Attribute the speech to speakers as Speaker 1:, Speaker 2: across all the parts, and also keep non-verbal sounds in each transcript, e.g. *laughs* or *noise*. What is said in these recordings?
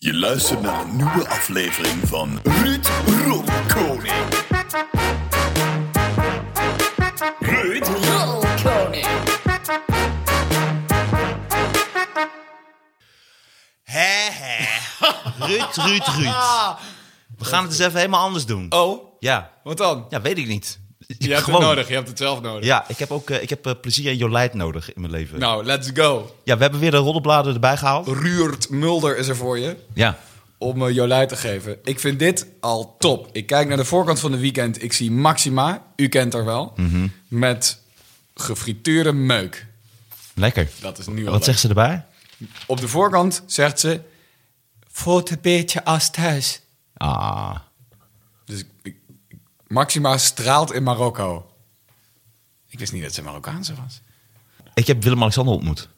Speaker 1: Je luistert naar een nieuwe aflevering van Ruud Rolkoning. Ruud.
Speaker 2: Hè, hè. Ruud, Ruud, Ruud. We gaan het eens even helemaal anders doen.
Speaker 3: Ah. Oh,
Speaker 2: Ja,
Speaker 3: wat dan?
Speaker 2: ja weet ik niet.
Speaker 3: Je hebt
Speaker 2: Gewoon.
Speaker 3: het nodig, je hebt het zelf nodig.
Speaker 2: Ja, ik heb ook eh, ik heb, eh, plezier en Jolijt nodig in mijn leven.
Speaker 3: Nou, let's go.
Speaker 2: Ja, we hebben weer de roddelbladen erbij gehaald.
Speaker 3: Oh. Ruurt Mulder is er voor je
Speaker 2: Ja.
Speaker 3: om eh, Jolui te geven. Ik vind dit al top. Ik kijk naar de voorkant van de weekend. Ik zie Maxima, u kent haar wel,
Speaker 2: Mhm.
Speaker 3: met gefrituurde meuk.
Speaker 2: Lekker.
Speaker 3: Dat is nu al
Speaker 2: Wat
Speaker 3: leuk.
Speaker 2: zegt ze erbij?
Speaker 3: Op de voorkant zegt ze... Voelt een beetje als thuis.
Speaker 2: Ah.
Speaker 3: Dus ik- ik- ik- Maxima straalt in Marokko. Ik wist niet dat ze Marokkaanse was.
Speaker 2: Ik heb Willem-Alexander ontmoet.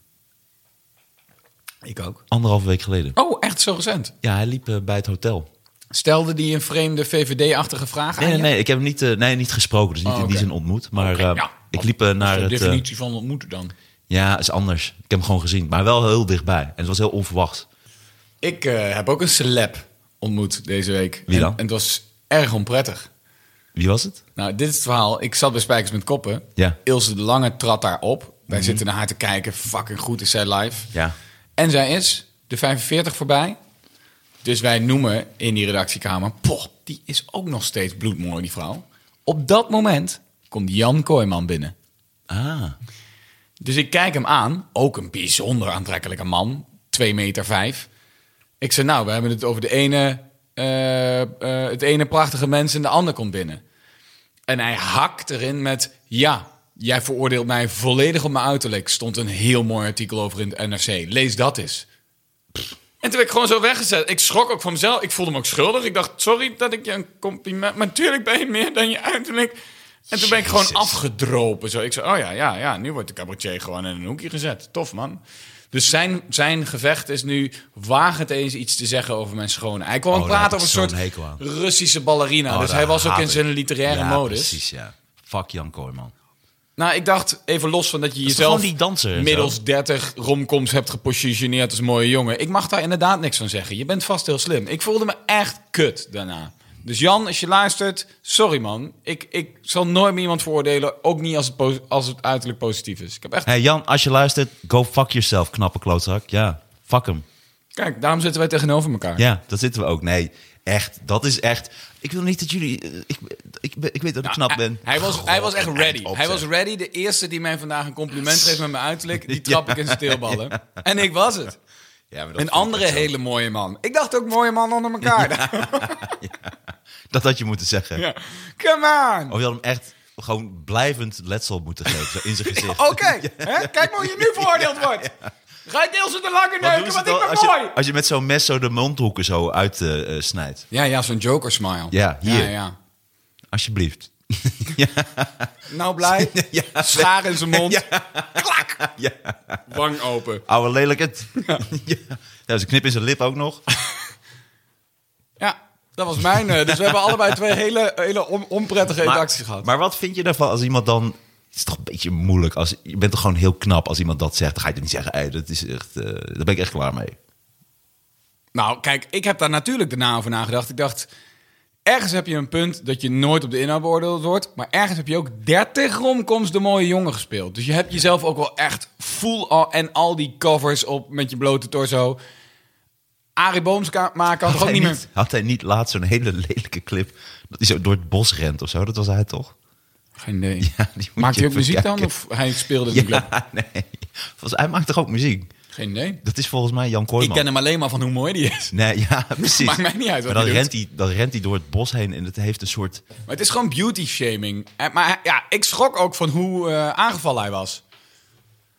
Speaker 3: Ik ook.
Speaker 2: Anderhalve week geleden.
Speaker 3: Oh, echt zo recent?
Speaker 2: Ja, hij liep eh, bij het hotel.
Speaker 3: Stelde die een vreemde VVD-achtige vraag
Speaker 2: Nee,
Speaker 3: aan
Speaker 2: nee,
Speaker 3: je?
Speaker 2: nee. Ik heb hem niet, eh, nee, niet gesproken. Dus niet
Speaker 3: Ah, Oh,
Speaker 2: in die
Speaker 3: oké.
Speaker 2: zin ontmoet. Maar
Speaker 3: Oké,
Speaker 2: eh,
Speaker 3: ja.
Speaker 2: ik liep eh, naar
Speaker 3: Dat
Speaker 2: het...
Speaker 3: is de
Speaker 2: eh,
Speaker 3: definitie van ontmoeten dan.
Speaker 2: ja, is anders. Ik heb hem gewoon gezien. Maar wel heel dichtbij. En het was heel onverwacht.
Speaker 3: Ik eh, heb ook een celeb ontmoet deze week.
Speaker 2: Wie dan?
Speaker 3: En, en het was erg onprettig.
Speaker 2: Wie was het?
Speaker 3: Nou, dit is het verhaal. Ik zat bij Spijkers met Koppen.
Speaker 2: Ja. Mhm.
Speaker 3: Ilse de Lange trad daar op. Wij zitten naar haar te kijken. Fucking goed is zij live.
Speaker 2: Ja.
Speaker 3: En zij is de 45 voorbij. Dus wij noemen in die redactiekamer... Poh, die is ook nog steeds bloedmooi, die vrouw. Op dat moment komt Jan Kooijman binnen.
Speaker 2: Ah.
Speaker 3: Dus ik kijk hem aan. Ook een bijzonder aantrekkelijke man. 2 meter vijf. Ik zei, nou, we hebben het over de ene, eh, eh, het ene prachtige mens en de ander komt binnen. En hij hakt erin met, ja, jij veroordeelt mij volledig op mijn uiterlijk. Stond een heel mooi artikel over in het NRC. Lees dat eens. En toen werd ik gewoon zo weggezet. Ik schrok ook van mezelf. Ik voelde me ook schuldig. Ik dacht, sorry dat ik je een compliment... Maar natuurlijk ben je meer dan je uiterlijk. En toen ben ik gewoon afgedropen. Zo. Ik zei, oh ja, ja, ja, nu wordt de cabaretier gewoon in een hoekje gezet. Tof, man. Dus zijn, zijn gevecht is nu, waag het eens iets te zeggen over mijn schoon. Hij kwam
Speaker 2: Oh, daar heb
Speaker 3: praten
Speaker 2: ik
Speaker 3: over
Speaker 2: zo'n
Speaker 3: een soort
Speaker 2: hekel aan.
Speaker 3: Russische ballerina.
Speaker 2: Oh,
Speaker 3: dus
Speaker 2: daar
Speaker 3: hij was ook
Speaker 2: haat
Speaker 3: in
Speaker 2: ik.
Speaker 3: zijn literaire
Speaker 2: ja,
Speaker 3: modus.
Speaker 2: Precies, ja. Fuck Jan Kooijman.
Speaker 3: Nou, ik dacht, even los van dat je
Speaker 2: toch
Speaker 3: jezelf
Speaker 2: gewoon die danser en
Speaker 3: middels
Speaker 2: zo?
Speaker 3: 30 romcoms hebt gepositioneerd als mooie jongen. Ik mag daar inderdaad niks van zeggen. Je bent vast heel slim. Ik voelde me echt kut daarna. Dus Jan, als je luistert, sorry man. Ik, ik zal nooit meer iemand veroordelen. Ook niet als het, po- als het uiterlijk positief is. Ik heb echt...
Speaker 2: Hey Jan, als je luistert, go fuck yourself, knappe klootzak. Ja, fuck hem.
Speaker 3: Kijk, daarom zitten wij tegenover elkaar.
Speaker 2: Ja, dat zitten we ook. Nee, echt. Dat is echt... Ik wil niet dat jullie... eh, Ik, ik, ik weet dat ik knap
Speaker 3: hij-
Speaker 2: ben.
Speaker 3: Hij was, hij was echt
Speaker 2: en
Speaker 3: ready.
Speaker 2: eind op,
Speaker 3: Hij was
Speaker 2: zeg.
Speaker 3: ready. De eerste die mij vandaag een compliment geeft met mijn uiterlijk, die trap
Speaker 2: *laughs*
Speaker 3: ik in zijn teelballen. En ik was het.
Speaker 2: Ja, maar dat
Speaker 3: Een
Speaker 2: vind ik
Speaker 3: andere
Speaker 2: echt zo.
Speaker 3: hele mooie man. Ik dacht ook mooie man onder
Speaker 2: *laughs*
Speaker 3: elkaar.
Speaker 2: Dat had je moeten zeggen.
Speaker 3: Ja. Come on!
Speaker 2: Of je had hem echt gewoon blijvend letsel moeten geven zo in *laughs* zijn gezicht.
Speaker 3: Oké, hè? kijk maar hoe
Speaker 2: *laughs*
Speaker 3: je nu veroordeeld wordt. Ga je deels de lange
Speaker 2: Wat
Speaker 3: neuken,
Speaker 2: doen ze
Speaker 3: want
Speaker 2: dan
Speaker 3: ik ben
Speaker 2: als, je,
Speaker 3: mooi.
Speaker 2: als je met zo'n mes zo de mondhoeken zo eh, uitsnijdt.
Speaker 3: Ja, ja, zo'n joker smile.
Speaker 2: Ja, hier.
Speaker 3: Ja, ja.
Speaker 2: Alsjeblieft. *laughs*
Speaker 3: Nou blij. Schaar in zijn mond. Klak.
Speaker 2: Ja.
Speaker 3: Wang open.
Speaker 2: Oude lelijkheid. Ja. *laughs* ja, ze knip in zijn lip ook nog.
Speaker 3: Ja, dat was mijn. eh, Dus we hebben allebei twee hele, hele on- onprettige redacties gehad.
Speaker 2: Maar wat vind je daarvan als iemand dan... Het is toch een beetje moeilijk. Als, je bent toch gewoon heel knap als iemand dat zegt. Dan ga je toch niet zeggen, "Ey, dat is echt, eh, daar ben ik echt klaar mee.
Speaker 3: Nou, kijk, ik heb daar natuurlijk daarna over nagedacht. Ik dacht, ergens heb je een punt dat je nooit op de inhoud beoordeeld wordt. Maar ergens heb je ook 30 romcoms de mooie jongen gespeeld. Dus je hebt jezelf ook wel echt full al, en al die covers op met je blote torso. Arie Boomsma maken had
Speaker 2: Had
Speaker 3: gewoon
Speaker 2: hij,
Speaker 3: niet
Speaker 2: niet,
Speaker 3: meer...
Speaker 2: had hij niet laatst zo'n hele lelijke clip... dat hij zo door het bos rent of zo? Dat was hij toch?
Speaker 3: Geen idee.
Speaker 2: Ja, die moet
Speaker 3: Maakt
Speaker 2: je
Speaker 3: hij
Speaker 2: even
Speaker 3: ook muziek dan?
Speaker 2: kijken.
Speaker 3: Of hij speelde de club?
Speaker 2: Ja, *laughs* nee. Volgens, hij maakt toch ook muziek?
Speaker 3: Geen idee.
Speaker 2: Dat is volgens mij Jan
Speaker 3: Ik
Speaker 2: Kooijman.
Speaker 3: ken hem alleen maar van hoe mooi die is.
Speaker 2: Nee, ja, *laughs* precies.
Speaker 3: Maakt mij niet uit wat
Speaker 2: maar dan
Speaker 3: hij
Speaker 2: rent,
Speaker 3: doet.
Speaker 2: hij, dan rent hij door het bos heen en het heeft een soort...
Speaker 3: Maar het is gewoon beauty shaming. Eh, Maar ja, ik schrok ook van hoe eh, aangevallen hij was.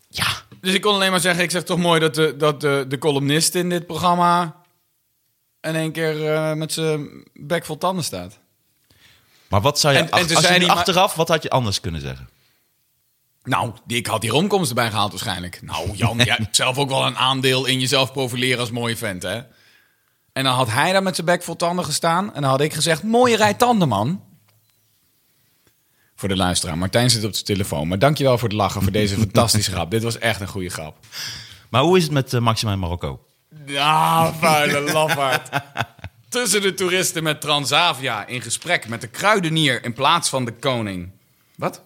Speaker 2: Ja,
Speaker 3: Dus ik kon alleen maar zeggen, ik zeg toch mooi dat de, dat de, de columnist in dit programma in één keer eh, met zijn bek vol tanden staat.
Speaker 2: maar wat zou je...
Speaker 3: En- en
Speaker 2: ach-
Speaker 3: toen
Speaker 2: als je
Speaker 3: zei
Speaker 2: nu
Speaker 3: hij, maar-
Speaker 2: achteraf, wat had je anders kunnen zeggen?
Speaker 3: Nou, die, ik had die romkomst erbij gehaald waarschijnlijk. Nou, Jan, jij hebt zelf ook wel een aandeel in jezelf profileren als mooie vent, hè? En dan had hij daar met zijn bek vol tanden gestaan en dan had ik gezegd, mooie rij tanden, man. Voor de luisteraar, Martijn zit op zijn telefoon. Maar dankjewel voor het lachen, voor deze fantastische grap. Dit was echt een goede grap.
Speaker 2: Maar hoe is het met eh, Maxima in Marokko?
Speaker 3: Ja, vuile lafaard. Tussen de toeristen met Transavia in gesprek met de kruidenier in plaats van de koning. Wat?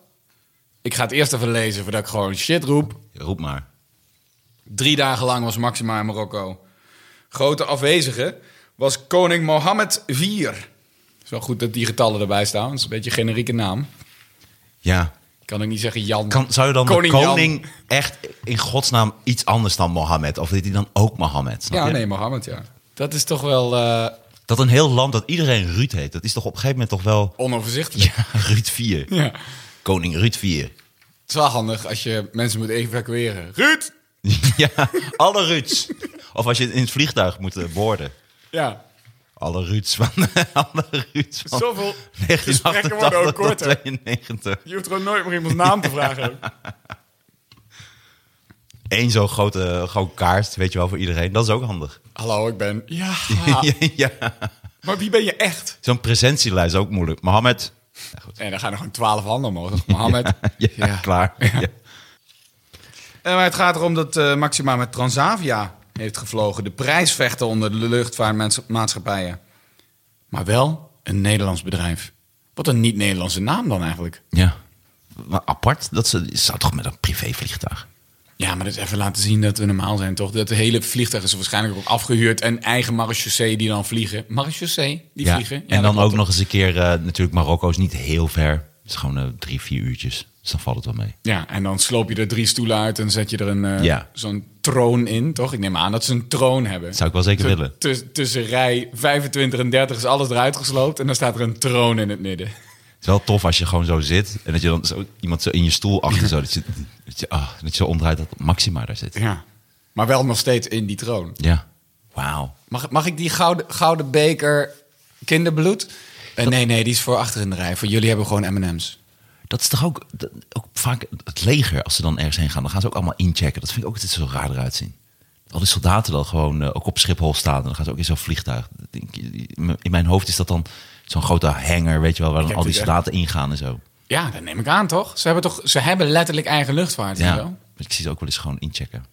Speaker 3: Ik ga het eerst even lezen voordat ik gewoon shit roep.
Speaker 2: Roep maar.
Speaker 3: Drie dagen lang was Maxima in Marokko. Grote afwezige was koning Mohammed IV. is wel goed dat die getallen erbij staan. Dat is een beetje een generieke naam.
Speaker 2: Ja.
Speaker 3: Kan ik niet zeggen Jan.
Speaker 2: Kan, zou je dan
Speaker 3: Koning
Speaker 2: de
Speaker 3: Jan.
Speaker 2: koning echt in godsnaam iets anders dan Mohammed? Of heet hij dan ook Mohammed? snap
Speaker 3: Ja,
Speaker 2: je?
Speaker 3: nee, Mohammed, ja. Dat is toch wel eh,
Speaker 2: Dat een heel land dat iedereen Ruud heet, dat is toch op een gegeven moment toch wel *laughs*
Speaker 3: onoverzichtelijk.
Speaker 2: ja, Ruud 4.
Speaker 3: Ja.
Speaker 2: Koning Ruud 4.
Speaker 3: Het is wel handig als je mensen moet evacueren. Ruud!
Speaker 2: *laughs* ja, alle Ruuds. Of als je in het vliegtuig moet eh, boorden.
Speaker 3: Ja.
Speaker 2: Alle Ruuds van... *laughs* alle Ruuds van...
Speaker 3: Zoveel gesprekken
Speaker 2: 1988
Speaker 3: worden ook
Speaker 2: tot
Speaker 3: korter.
Speaker 2: 92.
Speaker 3: Je hoeft gewoon nooit meer iemands naam te vragen. ook.
Speaker 2: Eén zo'n grote, grote kaart, weet je wel, voor iedereen. Dat is ook handig.
Speaker 3: *laughs* Hallo, ik ben... *laughs* Ja. Ah.
Speaker 2: *laughs* ja.
Speaker 3: Maar wie ben je echt?
Speaker 2: Zo'n presentielijst is ook moeilijk. Mohammed.
Speaker 3: En dan gaan er gewoon twaalf handen omhoog. *laughs* Mohammed.
Speaker 2: Ja, *laughs* klaar. Ja.
Speaker 3: Eh, maar het gaat erom dat eh, Maxima met Transavia heeft gevlogen. De prijsvechten onder de luchtvaartmaatschappijen. Maar wel een Nederlands bedrijf. Wat een niet-Nederlandse naam dan eigenlijk.
Speaker 2: Ja. Maar apart, dat ze, zou toch met een privévliegtuig?
Speaker 3: Ja, maar dat is even laten zien dat we normaal zijn, toch? Dat de hele vliegtuig is waarschijnlijk ook afgehuurd. En eigen marechaussee die dan vliegen. Marechaussee, die
Speaker 2: ja.
Speaker 3: vliegen. Ja,
Speaker 2: en
Speaker 3: dat
Speaker 2: dan
Speaker 3: klopt
Speaker 2: ook nog eens een keer, eh, natuurlijk, Marokko is niet heel ver. Het is gewoon eh, drie, vier uurtjes. Dus dan valt het wel mee.
Speaker 3: Ja, en dan sloop je er drie stoelen uit en zet je er een eh,
Speaker 2: Ja.
Speaker 3: zo'n troon in, toch? Ik neem aan dat ze een troon hebben.
Speaker 2: Zou ik wel zeker
Speaker 3: Zo
Speaker 2: willen.
Speaker 3: tuss- tussen rij 25 en 30 is alles eruit gesloopt en dan staat er een troon in het midden.
Speaker 2: Het is wel tof als je gewoon zo zit en dat je dan zo, iemand zo in je stoel
Speaker 3: *laughs*
Speaker 2: achter zo, dat je, dat je, ah, dat je zo omdraait dat Maxima daar zit.
Speaker 3: Ja. Maar wel nog steeds in die troon.
Speaker 2: Ja. Wauw.
Speaker 3: Mag, mag ik die gouden, gouden beker kinderbloed? Eh, nee, nee, die is voor achter in de rij. Voor jullie hebben we gewoon M&M's.
Speaker 2: Dat is toch ook, dat- ook vaak het leger, als ze dan ergens heen gaan, dan gaan ze ook allemaal inchecken. Dat vind ik ook altijd zo raar eruit zien. Al die soldaten dan gewoon eh, ook op Schiphol staan en dan gaan ze ook in zo'n vliegtuig. Dat denk ik- In mijn hoofd is dat dan zo'n grote hanger, weet je wel, waar dan
Speaker 3: heb
Speaker 2: al die
Speaker 3: dit
Speaker 2: soldaten ingaan en zo.
Speaker 3: Ja, dat neem ik aan, toch? Ze hebben, toch, ze hebben letterlijk eigen luchtvaart. weet je
Speaker 2: Ja,
Speaker 3: wel?
Speaker 2: ik zie ze ook wel eens gewoon inchecken.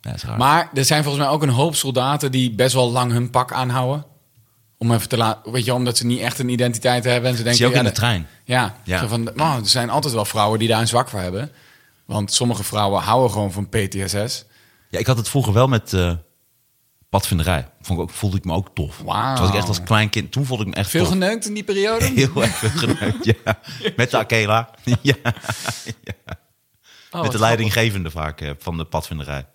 Speaker 2: Ja, dat is raar.
Speaker 3: Maar er zijn volgens mij ook een hoop soldaten die best wel lang hun pak aanhouden. Om even te laten, weet je, wel, omdat ze niet echt een identiteit hebben. En ze denken,
Speaker 2: zie je ook
Speaker 3: ja,
Speaker 2: in de
Speaker 3: dat-
Speaker 2: trein.
Speaker 3: Ja,
Speaker 2: Ja.
Speaker 3: Zo van, wow, er zijn altijd wel vrouwen die daar een zwak voor hebben. Want sommige vrouwen houden gewoon van PTSS.
Speaker 2: Ja, ik had het vroeger wel met eh padvinderij. Vond ik ook, voelde ik me ook tof.
Speaker 3: Wauw.
Speaker 2: Toen was ik echt als klein kind. Toen voelde ik me echt
Speaker 3: Veel
Speaker 2: tof.
Speaker 3: geneukt in die periode?
Speaker 2: *laughs* Heel erg veel geneukt,
Speaker 3: *laughs*
Speaker 2: ja. Met de Akela. *laughs* Ja.
Speaker 3: Oh,
Speaker 2: Met
Speaker 3: wat
Speaker 2: de leidinggevende vaak eh, van de padvinderij.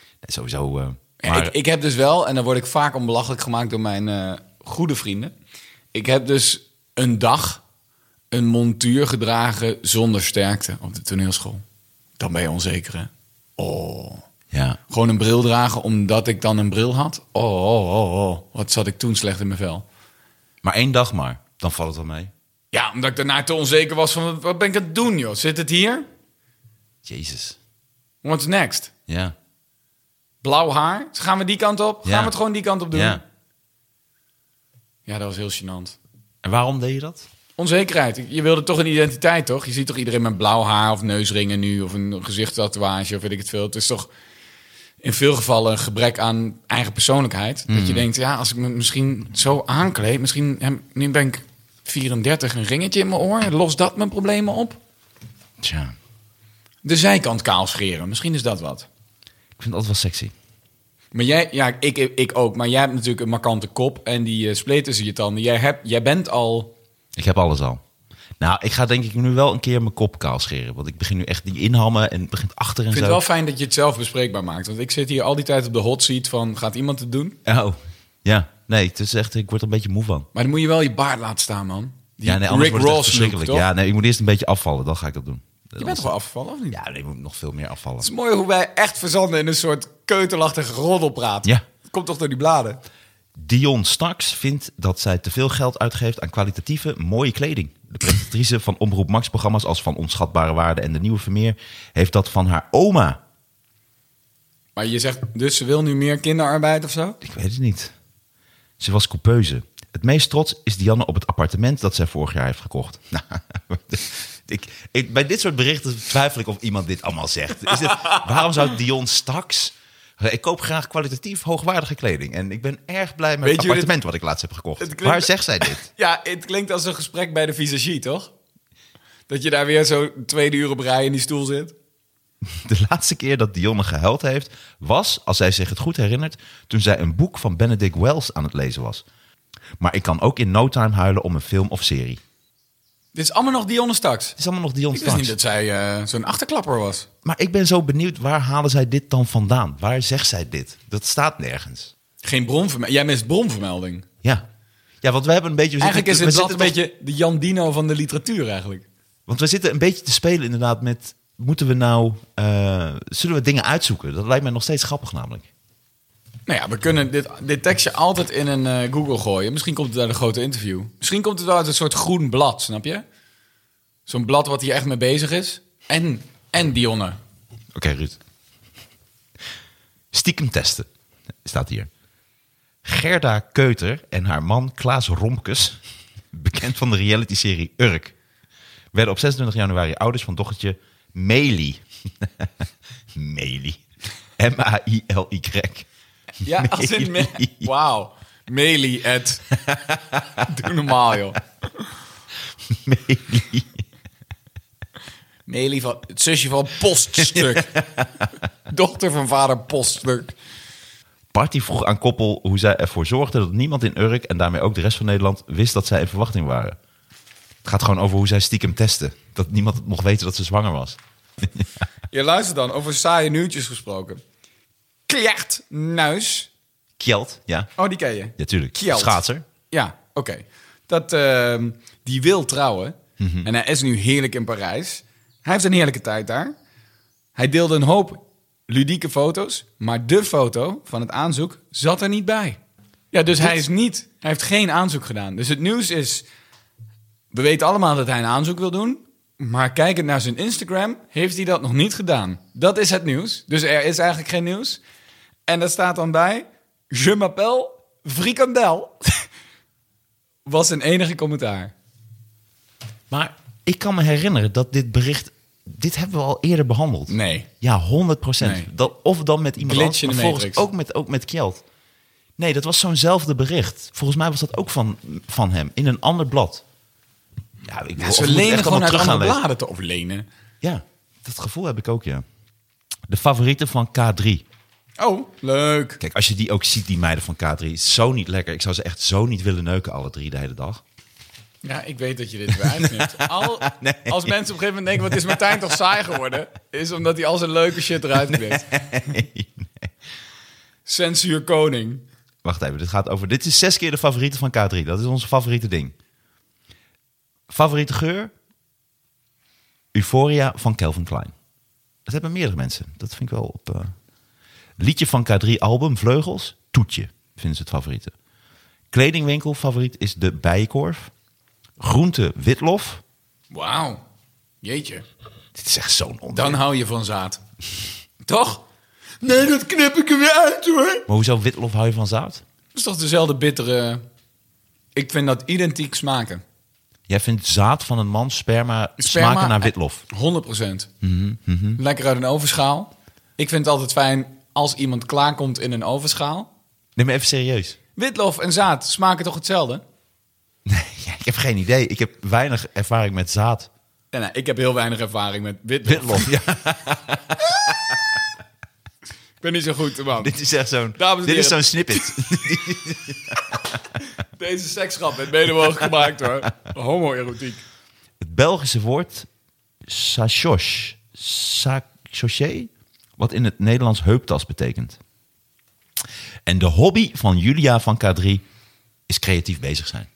Speaker 2: Nee, sowieso. eh,
Speaker 3: Ja,
Speaker 2: maar,
Speaker 3: ik, ik heb dus wel, en dan word ik vaak onbelachelijk gemaakt door mijn eh, goede vrienden. Ik heb dus een dag een montuur gedragen zonder sterkte op de toneelschool. Dan ben je onzeker, hè? Oh.
Speaker 2: ja.
Speaker 3: Gewoon een bril dragen omdat ik dan een bril had? Oh, oh, oh, oh. Wat zat ik toen slecht in mijn vel.
Speaker 2: maar één dag maar. Dan valt het wel mee.
Speaker 3: Ja, omdat ik daarna te onzeker was van... Wat ben ik aan het doen, joh? Zit het hier?
Speaker 2: Jezus.
Speaker 3: What's next?
Speaker 2: Ja.
Speaker 3: Blauw haar? Gaan we die kant op?
Speaker 2: Ja.
Speaker 3: Gaan we het gewoon die kant op doen?
Speaker 2: ja.
Speaker 3: ja dat was heel gênant.
Speaker 2: En waarom deed je dat?
Speaker 3: Onzekerheid. Je wilde toch een identiteit, toch? Je ziet toch iedereen met blauw haar of neusringen nu... of een gezichtstatoeage of weet ik het veel. Het is toch in veel gevallen een gebrek aan eigen persoonlijkheid. Dat je denkt, ja, als ik me misschien zo aankleed... misschien hè, nu ben ik 34, een ringetje in mijn oor... lost dat mijn problemen op?
Speaker 2: Tja.
Speaker 3: De zijkant kaal scheren, misschien is dat wat.
Speaker 2: Ik vind het altijd wel sexy.
Speaker 3: Maar jij, ja, ik, ik ook. Maar jij hebt natuurlijk een markante kop en die eh, spleet tussen je tanden. Jij, hebt, jij bent al.
Speaker 2: Ik heb alles al. Nou, ik ga denk ik nu wel een keer mijn kop kaal scheren. Want ik begin nu echt die inhammen en het begint achter en
Speaker 3: Ik vind
Speaker 2: zo.
Speaker 3: het wel fijn dat je het zelf bespreekbaar maakt. Want ik zit hier al die tijd op de hot seat van gaat iemand het doen?
Speaker 2: Oh, ja. Nee, het is echt, ik word er een beetje moe van.
Speaker 3: Maar dan moet je wel je baard laten staan, man. Die
Speaker 2: ja, nee, anders wordt het echt
Speaker 3: look,
Speaker 2: verschrikkelijk.
Speaker 3: toch?
Speaker 2: Ja, nee, ik moet eerst een beetje afvallen, dan ga ik dat doen.
Speaker 3: Je bent toch wel afgevallen, of niet?
Speaker 2: Ja, nee, ik moet nog veel meer afvallen.
Speaker 3: Het is mooi hoe wij echt verzanden in een soort keutelachtige roddelpraat.
Speaker 2: Ja.
Speaker 3: Dat Komt toch door die bladen?
Speaker 2: Dion Staks vindt dat zij te veel geld uitgeeft aan kwalitatieve, mooie kleding. De presentatrice van Omroep Max-programma's als Van Onschatbare Waarde en De Nieuwe Vermeer heeft dat van haar oma.
Speaker 3: Maar je zegt, dus ze wil nu meer kinderarbeid of zo?
Speaker 2: Ik weet het niet. Ze was coupeuse. Het meest trots is Dianne op het appartement dat zij vorig jaar heeft gekocht. *laughs* Nou, ik, ik, bij dit soort berichten twijfel ik of iemand dit allemaal zegt. Is het, waarom zou Dion Staks Ik koop graag kwalitatief hoogwaardige kleding. En ik ben erg blij met
Speaker 3: Weet
Speaker 2: het
Speaker 3: je hoe
Speaker 2: appartement wat ik laatst heb gekocht.
Speaker 3: Het klinkt-
Speaker 2: Waar zegt zij dit?
Speaker 3: Ja, het klinkt als een gesprek bij de visagie, toch? Dat je daar weer zo tweede uur op rij in die stoel
Speaker 2: *laughs*
Speaker 3: zit.
Speaker 2: De laatste keer dat Dionne gehuild heeft, was, als zij zich het goed herinnert, toen zij een boek van Benedict Wells aan het lezen was. Maar ik kan ook in no time huilen om een film of serie.
Speaker 3: Dit is allemaal nog Dionne Staks.
Speaker 2: Het is allemaal nog Dionne
Speaker 3: Ik wist niet
Speaker 2: Staks.
Speaker 3: dat zij eh, zo'n achterklapper was.
Speaker 2: Maar ik ben zo benieuwd, waar halen zij dit dan vandaan? Waar zegt zij dit? Dat staat nergens.
Speaker 3: Geen bronvermelding. Jij mist bronvermelding.
Speaker 2: Ja, ja want we hebben een beetje... we
Speaker 3: Eigenlijk is
Speaker 2: zitten-
Speaker 3: het
Speaker 2: we
Speaker 3: blad een
Speaker 2: zitten toch-
Speaker 3: beetje de Jan Dino van de literatuur eigenlijk.
Speaker 2: Want we zitten een beetje te spelen inderdaad met... Moeten we nou... eh, zullen we dingen uitzoeken? Dat lijkt mij nog steeds grappig namelijk.
Speaker 3: Nou ja, we kunnen dit, dit tekstje altijd in een eh, Google gooien. Misschien komt het uit een grote interview. Misschien komt het wel uit een soort groen blad, snap je? Zo'n blad wat hier echt mee bezig is. En, en Dionne.
Speaker 2: Oké, Ruud. Stiekem testen, staat hier. Gerda Keuter en haar man Klaas Romkes, bekend van de realityserie Urk, werden op 26 januari ouders van dochtertje Meli. *laughs* Meli. M-A-I-L-Y.
Speaker 3: *laughs* Ja, als in...
Speaker 2: Meli.
Speaker 3: me- Wauw. Meli at... *laughs* Doe normaal, joh.
Speaker 2: Meli.
Speaker 3: Meli van... Het zusje van *laughs* Poststuk. Dochter van vader Poststuk.
Speaker 2: Party vroeg aan koppel hoe zij ervoor zorgden dat niemand in Urk en daarmee ook de rest van Nederland wist dat zij in verwachting waren. Het gaat gewoon over hoe zij stiekem testen. Dat niemand mocht weten dat ze zwanger was.
Speaker 3: Je luistert dan, over saaie nieuwtjes gesproken. Kjert Nuis.
Speaker 2: Kjeld, ja.
Speaker 3: Oh, die ken je.
Speaker 2: Ja, tuurlijk.
Speaker 3: Kjeld.
Speaker 2: Schaatser.
Speaker 3: Ja, oké. Dat, ehm, die wil trouwen. En hij is nu heerlijk in Parijs. Hij heeft een heerlijke tijd daar. Hij deelde een hoop ludieke foto's. Maar de foto van het aanzoek zat er niet bij. Ja, dus hij is niet... Hij heeft geen aanzoek gedaan. Dus het nieuws is... We weten allemaal dat hij een aanzoek wil doen. Maar kijkend naar zijn Instagram heeft hij dat nog niet gedaan. Dat is het nieuws. Dus er is eigenlijk geen nieuws. En daar staat dan bij... Je m'appelle Frikandel. Was zijn enige commentaar.
Speaker 2: Maar ik kan me herinneren dat dit bericht... Dit hebben we al eerder behandeld.
Speaker 3: Nee.
Speaker 2: Ja, 100
Speaker 3: Nee.
Speaker 2: Dat, of dan met iemand anders,
Speaker 3: Glitch in de
Speaker 2: maar volgens-
Speaker 3: matrix.
Speaker 2: Ook met, ook met Kjeld. Nee, dat was zo'nzelfde bericht. Volgens mij was dat ook van, van hem. In een ander blad. Ja, ik wil- of we
Speaker 3: Ze
Speaker 2: moeten echt allemaal
Speaker 3: lenen gewoon uit
Speaker 2: terug gaan
Speaker 3: andere
Speaker 2: lezen.
Speaker 3: bladen te overlenen.
Speaker 2: Ja, dat gevoel heb ik ook, ja. De favorieten van K3.
Speaker 3: Oh, leuk.
Speaker 2: Kijk, als je die ook ziet, die meiden van K3, is zo niet lekker. Ik zou ze echt zo niet willen neuken, alle drie de hele dag.
Speaker 3: Ja, ik weet dat je dit weer uitknipt. *laughs* Al, Als mensen op een gegeven moment denken, wat is Martijn toch saai geworden? Is omdat hij al zijn leuke shit eruit knipt. Censuur koning.
Speaker 2: Wacht even, dit gaat over. Dit is zes keer de favoriete van K3. Dat is onze favoriete ding. Favoriete geur? Euphoria van Calvin Klein. Dat hebben meerdere mensen. Dat vind ik wel op. eh. Liedje van K3 album Vleugels? Toetje vinden ze het favoriete. Kledingwinkel favoriet is de Bijenkorf. Groente Witlof.
Speaker 3: Wauw. Jeetje.
Speaker 2: Dit is echt zo'n onzin.
Speaker 3: Dan hou je van zaad. Toch? Nee, dat knip ik er weer uit hoor.
Speaker 2: Maar hoezo Witlof hou je van zout?
Speaker 3: Dat is toch dezelfde bittere... Ik vind dat identiek smaken.
Speaker 2: Jij vindt zaad van een man sperma,
Speaker 3: Sperma-
Speaker 2: smaken naar witlof.
Speaker 3: 100 procent.
Speaker 2: Mhm,
Speaker 3: Lekker uit een ovenschaal. Ik vind het altijd fijn als iemand klaarkomt in een ovenschaal.
Speaker 2: Neem me even serieus.
Speaker 3: Witlof en zaad smaken toch hetzelfde?
Speaker 2: Nee, *laughs* ja, ik heb geen idee. Ik heb weinig ervaring met zaad.
Speaker 3: Nee, nee, ik heb heel weinig ervaring met witlof.
Speaker 2: Witlof. *laughs* Ja,
Speaker 3: Ik ben niet zo goed, man.
Speaker 2: dit is echt zo'n.
Speaker 3: Dames en
Speaker 2: Dit is zo'n
Speaker 3: heren.
Speaker 2: snippet.
Speaker 3: Deze seksgrap werd mede mogelijk gemaakt hoor. Homoerotiek.
Speaker 2: Het Belgische woord sachos. Sachosé. Wat in het Nederlands heuptas betekent. En de hobby van Julia van K3 is creatief bezig zijn.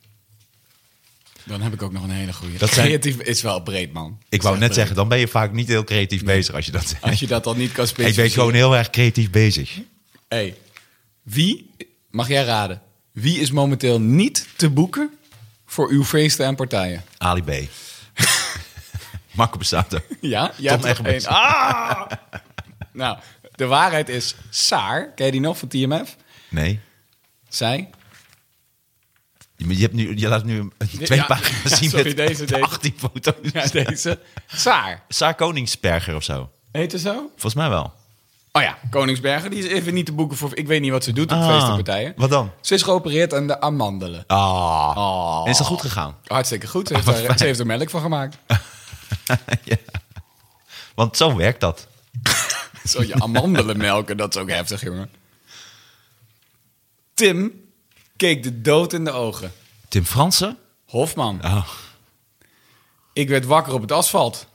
Speaker 3: Dan heb ik ook nog een hele goede.
Speaker 2: Dat zijn-
Speaker 3: Creatief is wel breed, man.
Speaker 2: Ik wou
Speaker 3: Dat is
Speaker 2: net
Speaker 3: echt
Speaker 2: zeggen, dan ben je vaak niet heel creatief bezig als je dat
Speaker 3: breed. Als
Speaker 2: zegt.
Speaker 3: je dat dan
Speaker 2: *laughs*
Speaker 3: niet kan
Speaker 2: Ik
Speaker 3: specificeren.
Speaker 2: ben gewoon heel erg creatief bezig.
Speaker 3: Hey, wie, mag jij raden, wie is momenteel niet te boeken voor uw feesten en partijen?
Speaker 2: Ali B.
Speaker 3: *laughs*
Speaker 2: Marco Bussato.
Speaker 3: Ja, jij
Speaker 2: Tom
Speaker 3: hebt er
Speaker 2: Egberts.
Speaker 3: één. Ah! nou, de waarheid is Saar. Ken je die nog van TMF?
Speaker 2: Nee.
Speaker 3: Zij.
Speaker 2: Je, je hebt nu, je laat nu een- twee
Speaker 3: ja.
Speaker 2: pagina's zien
Speaker 3: Sorry,
Speaker 2: met
Speaker 3: deze, deze.
Speaker 2: 18 foto's.
Speaker 3: *laughs* Ja, deze. Saar.
Speaker 2: Saar Koningsperger of zo.
Speaker 3: Heet ze zo?
Speaker 2: Volgens mij wel.
Speaker 3: Oh ja, Koningsbergen, die is even niet te boeken voor... Ik weet niet wat ze doet op
Speaker 2: Ah,
Speaker 3: feestenpartijen.
Speaker 2: wat dan?
Speaker 3: Ze is geopereerd aan de amandelen.
Speaker 2: Ah.
Speaker 3: Oh.
Speaker 2: En is dat goed gegaan?
Speaker 3: Hartstikke goed. Ze heeft, er, ze heeft er melk van *laughs* gemaakt.
Speaker 2: ja. Want zo werkt dat.
Speaker 3: Zo je amandelen melken, dat is ook heftig, jongen. Tim keek de dood in de ogen.
Speaker 2: Tim Fransen?
Speaker 3: Hofman,
Speaker 2: Oh.
Speaker 3: ik werd wakker op het asfalt.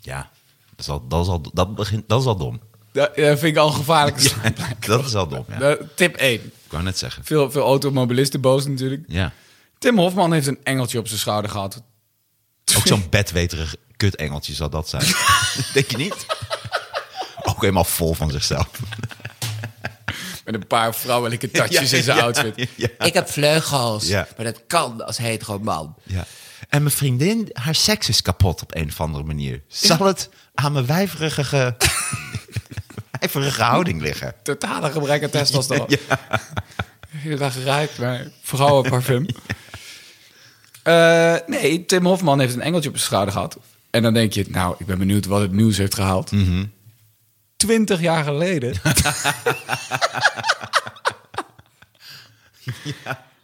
Speaker 2: Ja, dat is al, dat is al, dat begint, dat is al dom.
Speaker 3: Dat eh, vind ik al een gevaarlijke *laughs* slaap.
Speaker 2: *laughs* dat is al dom, ja.
Speaker 3: Tip 1.
Speaker 2: Ik wou net zeggen.
Speaker 3: Veel, veel automobilisten boos natuurlijk. *laughs*
Speaker 2: Ja.
Speaker 3: Tim Hofman heeft een engeltje op zijn schouder gehad.
Speaker 2: Ook zo'n bedweterig kutengeltje zal dat
Speaker 3: *laughs*
Speaker 2: zijn. Denk je niet? Ook helemaal vol van zichzelf.
Speaker 3: Met een paar vrouwelijke touches in zijn
Speaker 2: *laughs* Ja,
Speaker 3: outfit.
Speaker 2: Ja,
Speaker 4: Ik heb vleugels,
Speaker 2: Ja.
Speaker 4: maar dat kan als hetero man.
Speaker 2: ja. En mijn vriendin, haar seks is kapot op een of andere manier. Zal het aan mijn wijverige, *laughs* wijverige houding liggen?
Speaker 3: Totale gebrek aan testosteron.
Speaker 2: *laughs* Ja.
Speaker 3: Je dag ruikt naar
Speaker 2: *laughs*
Speaker 3: vrouwenparfum. Eh, nee, Tim Hofman heeft een engeltje op zijn schouder gehad. En dan denk je, nou, ik ben benieuwd wat het nieuws heeft gehaald.
Speaker 2: Mhm.
Speaker 3: Twintig jaar
Speaker 2: *laughs*
Speaker 3: geleden... *laughs*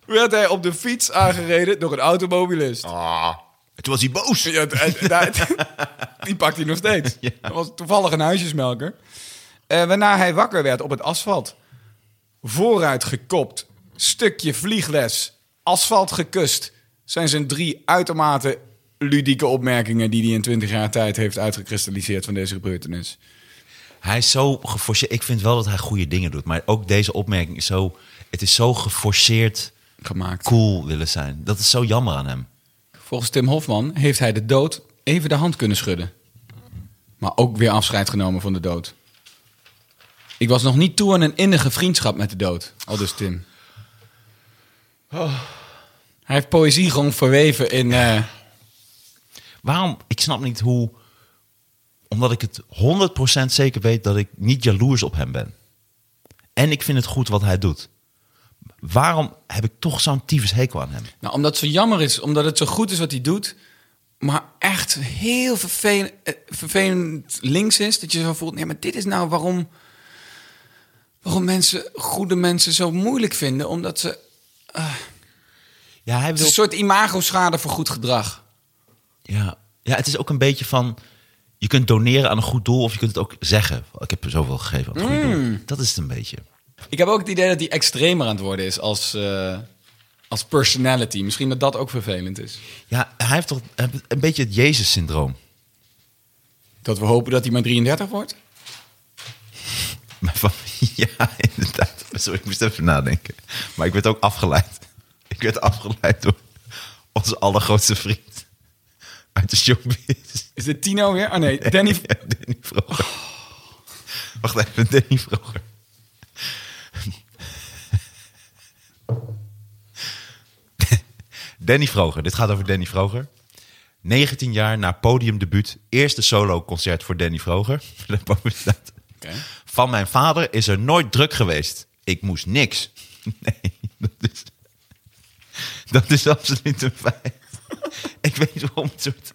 Speaker 3: werd hij op de fiets aangereden door een automobilist.
Speaker 2: Ah, toen was hij boos.
Speaker 3: Ja, het- het- het- die pakt hij nog steeds.
Speaker 2: Ja.
Speaker 3: Dat was toevallig een huisjesmelker. Eh, waarna hij wakker werd op het asfalt. Vooruit gekopt, stukje vliegles, asfalt gekust. Zijn zijn drie uitermate ludieke opmerkingen die hij in 20 jaar tijd heeft uitgekristalliseerd van deze gebeurtenis.
Speaker 2: Hij is zo geforceerd. Ik vind wel dat hij goede dingen doet. Maar ook deze opmerking is zo... Het is zo geforceerd
Speaker 3: Gemaakt.
Speaker 2: cool willen zijn. Dat is zo jammer aan hem.
Speaker 3: Volgens Tim Hofman heeft hij de dood even de hand kunnen schudden. Maar ook weer afscheid genomen van de dood. Ik was nog niet toe aan een innige vriendschap met de dood. Al dus Tim. Hij heeft poëzie gewoon verweven in... eh,
Speaker 2: Waarom? Ik snap niet hoe... Omdat ik het 100% zeker weet dat ik niet jaloers op hem ben. En ik vind het goed wat hij doet. Waarom heb ik toch zo'n tyfus hekel aan hem?
Speaker 3: nou, omdat het zo jammer is. Omdat het zo goed is wat hij doet. Maar echt heel vervelend, eh, vervelend links is. Dat je zo voelt, nee, maar dit is nou waarom... Waarom mensen, goede mensen zo moeilijk vinden. Omdat ze
Speaker 2: Ja, hij
Speaker 3: Het is een soort imago-schade voor goed gedrag.
Speaker 2: Ja. ja, het is ook een beetje van... Je kunt doneren aan een goed doel of je kunt het ook zeggen. Ik heb zoveel gegeven aan
Speaker 3: Mm.
Speaker 2: een goed doel. Dat is het een beetje.
Speaker 3: Ik heb ook het idee dat hij extremer aan het worden is als, eh, als personality. Misschien dat dat ook vervelend is.
Speaker 2: Ja, hij heeft toch een beetje het Jezus-syndroom.
Speaker 3: Dat we hopen dat hij maar 33 wordt.
Speaker 2: Maar van- *laughs* Ja, inderdaad. Sorry, ik moest even nadenken. Maar ik werd ook afgeleid. Ik werd afgeleid door onze allergrootste vriend uit de showbiz.
Speaker 3: Is dit Tino weer? Ah nee, *laughs* Danny.
Speaker 2: Ja, *laughs* Danny Vroger. Wacht even, Danny Vroger. *laughs* Danny Vroger, dit gaat over Danny Vroger. 19 jaar na podiumdebuut, eerste solo-concert voor Danny Vroger. *laughs* Daarboven staat,
Speaker 3: Oké.
Speaker 2: Van mijn vader is er nooit druk geweest. Ik moest niks. *laughs* Nee, dat is, dat is absoluut een feit. *laughs* Ik weet niet waarom het soort...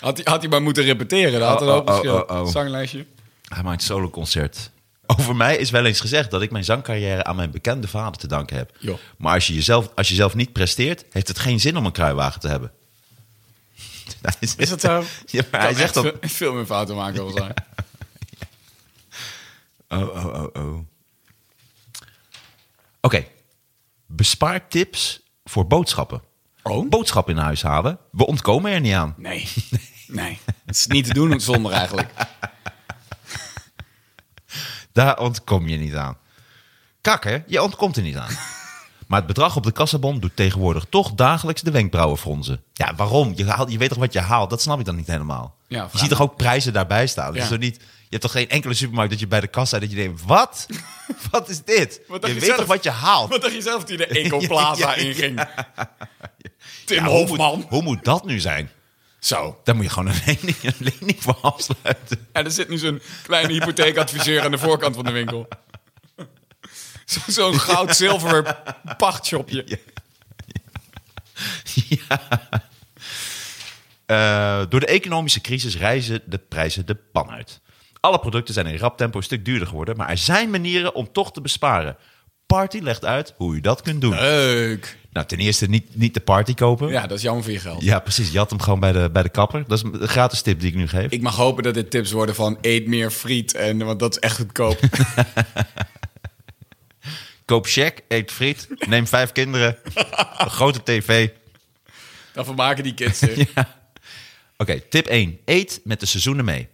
Speaker 3: Had hij, had hij maar moeten repeteren. Dat had een
Speaker 2: Oh,
Speaker 3: hoop
Speaker 2: oh,
Speaker 3: verschil.
Speaker 2: oh, oh.
Speaker 3: Zanglijstje.
Speaker 2: Hij maakt soloconcert. Over mij is wel eens gezegd dat ik mijn zangcarrière aan mijn bekende vader te danken heb.
Speaker 3: Joh.
Speaker 2: Maar als je, jezelf, als je zelf niet presteert, heeft het geen zin om een kruiwagen te hebben. *laughs* Hij zegt-
Speaker 3: Is dat zo?
Speaker 2: *laughs* Ja, maar hij
Speaker 3: Kan
Speaker 2: zegt
Speaker 3: echt
Speaker 2: dat.
Speaker 3: Veel, veel meer fouten maken dan zijn.
Speaker 2: Oh, oh, oh, oh. Oké. Bespaartips voor boodschappen.
Speaker 3: *laughs* Oh?
Speaker 2: Boodschappen in huis halen. We ontkomen er niet aan.
Speaker 3: Nee. Nee. Het is niet te doen zonder *laughs* eigenlijk.
Speaker 2: Daar ontkom je niet aan. Kakker, je ontkomt er niet
Speaker 3: *laughs*
Speaker 2: aan. Maar het bedrag op de kassabon doet tegenwoordig toch dagelijks de wenkbrauwen fronsen. Ja, waarom? Je, haalt, je weet toch wat je haalt? Dat snap ik dan niet helemaal.
Speaker 3: Ja,
Speaker 2: je
Speaker 3: vraag
Speaker 2: ziet toch ook prijzen daarbij staan? Het is
Speaker 3: Ja.
Speaker 2: toch niet, je hebt toch geen enkele supermarkt dat je bij de kassa... dat je denkt,
Speaker 3: *laughs*
Speaker 2: wat? wat is dit?
Speaker 3: Wat dacht
Speaker 2: je
Speaker 3: je
Speaker 2: weet
Speaker 3: zelf?
Speaker 2: toch wat je haalt?
Speaker 3: Wat dacht je zelf die de *laughs* Ecoplaza
Speaker 2: Ja, ja,
Speaker 3: inging? Tim
Speaker 2: Ja, hoe,
Speaker 3: Hofman.
Speaker 2: moet, hoe moet dat nu zijn?
Speaker 3: Zo.
Speaker 2: Daar moet je gewoon een *laughs* lening, een lening voor afsluiten.
Speaker 3: En er zit nu zo'n kleine hypotheekadviseur aan de voorkant van de winkel. Zo- Zo'n goud-zilver pachtshopje.
Speaker 2: Eh, door de economische crisis reizen de prijzen de pan uit. Alle producten zijn in rap tempo een stuk duurder geworden, maar er zijn manieren om toch te besparen. Party legt uit hoe je dat kunt doen.
Speaker 3: Leuk.
Speaker 2: Nou, ten eerste niet, niet de party kopen. Eh. Ja.
Speaker 3: Ja, dat is jammer voor je geld.
Speaker 2: precies. Je had hem gewoon bij de, bij de kapper. Dat is een gratis tip die ik nu geef.
Speaker 3: Ik mag hopen dat dit tips worden van eet meer friet, en, want dat is echt *laughs* goedkoop.
Speaker 2: Koop check, eet friet, neem vijf *laughs* kinderen, een grote tv.
Speaker 3: Dan vermaken die kids zich.
Speaker 2: Oké, tip 1. Eet met de seizoenen mee.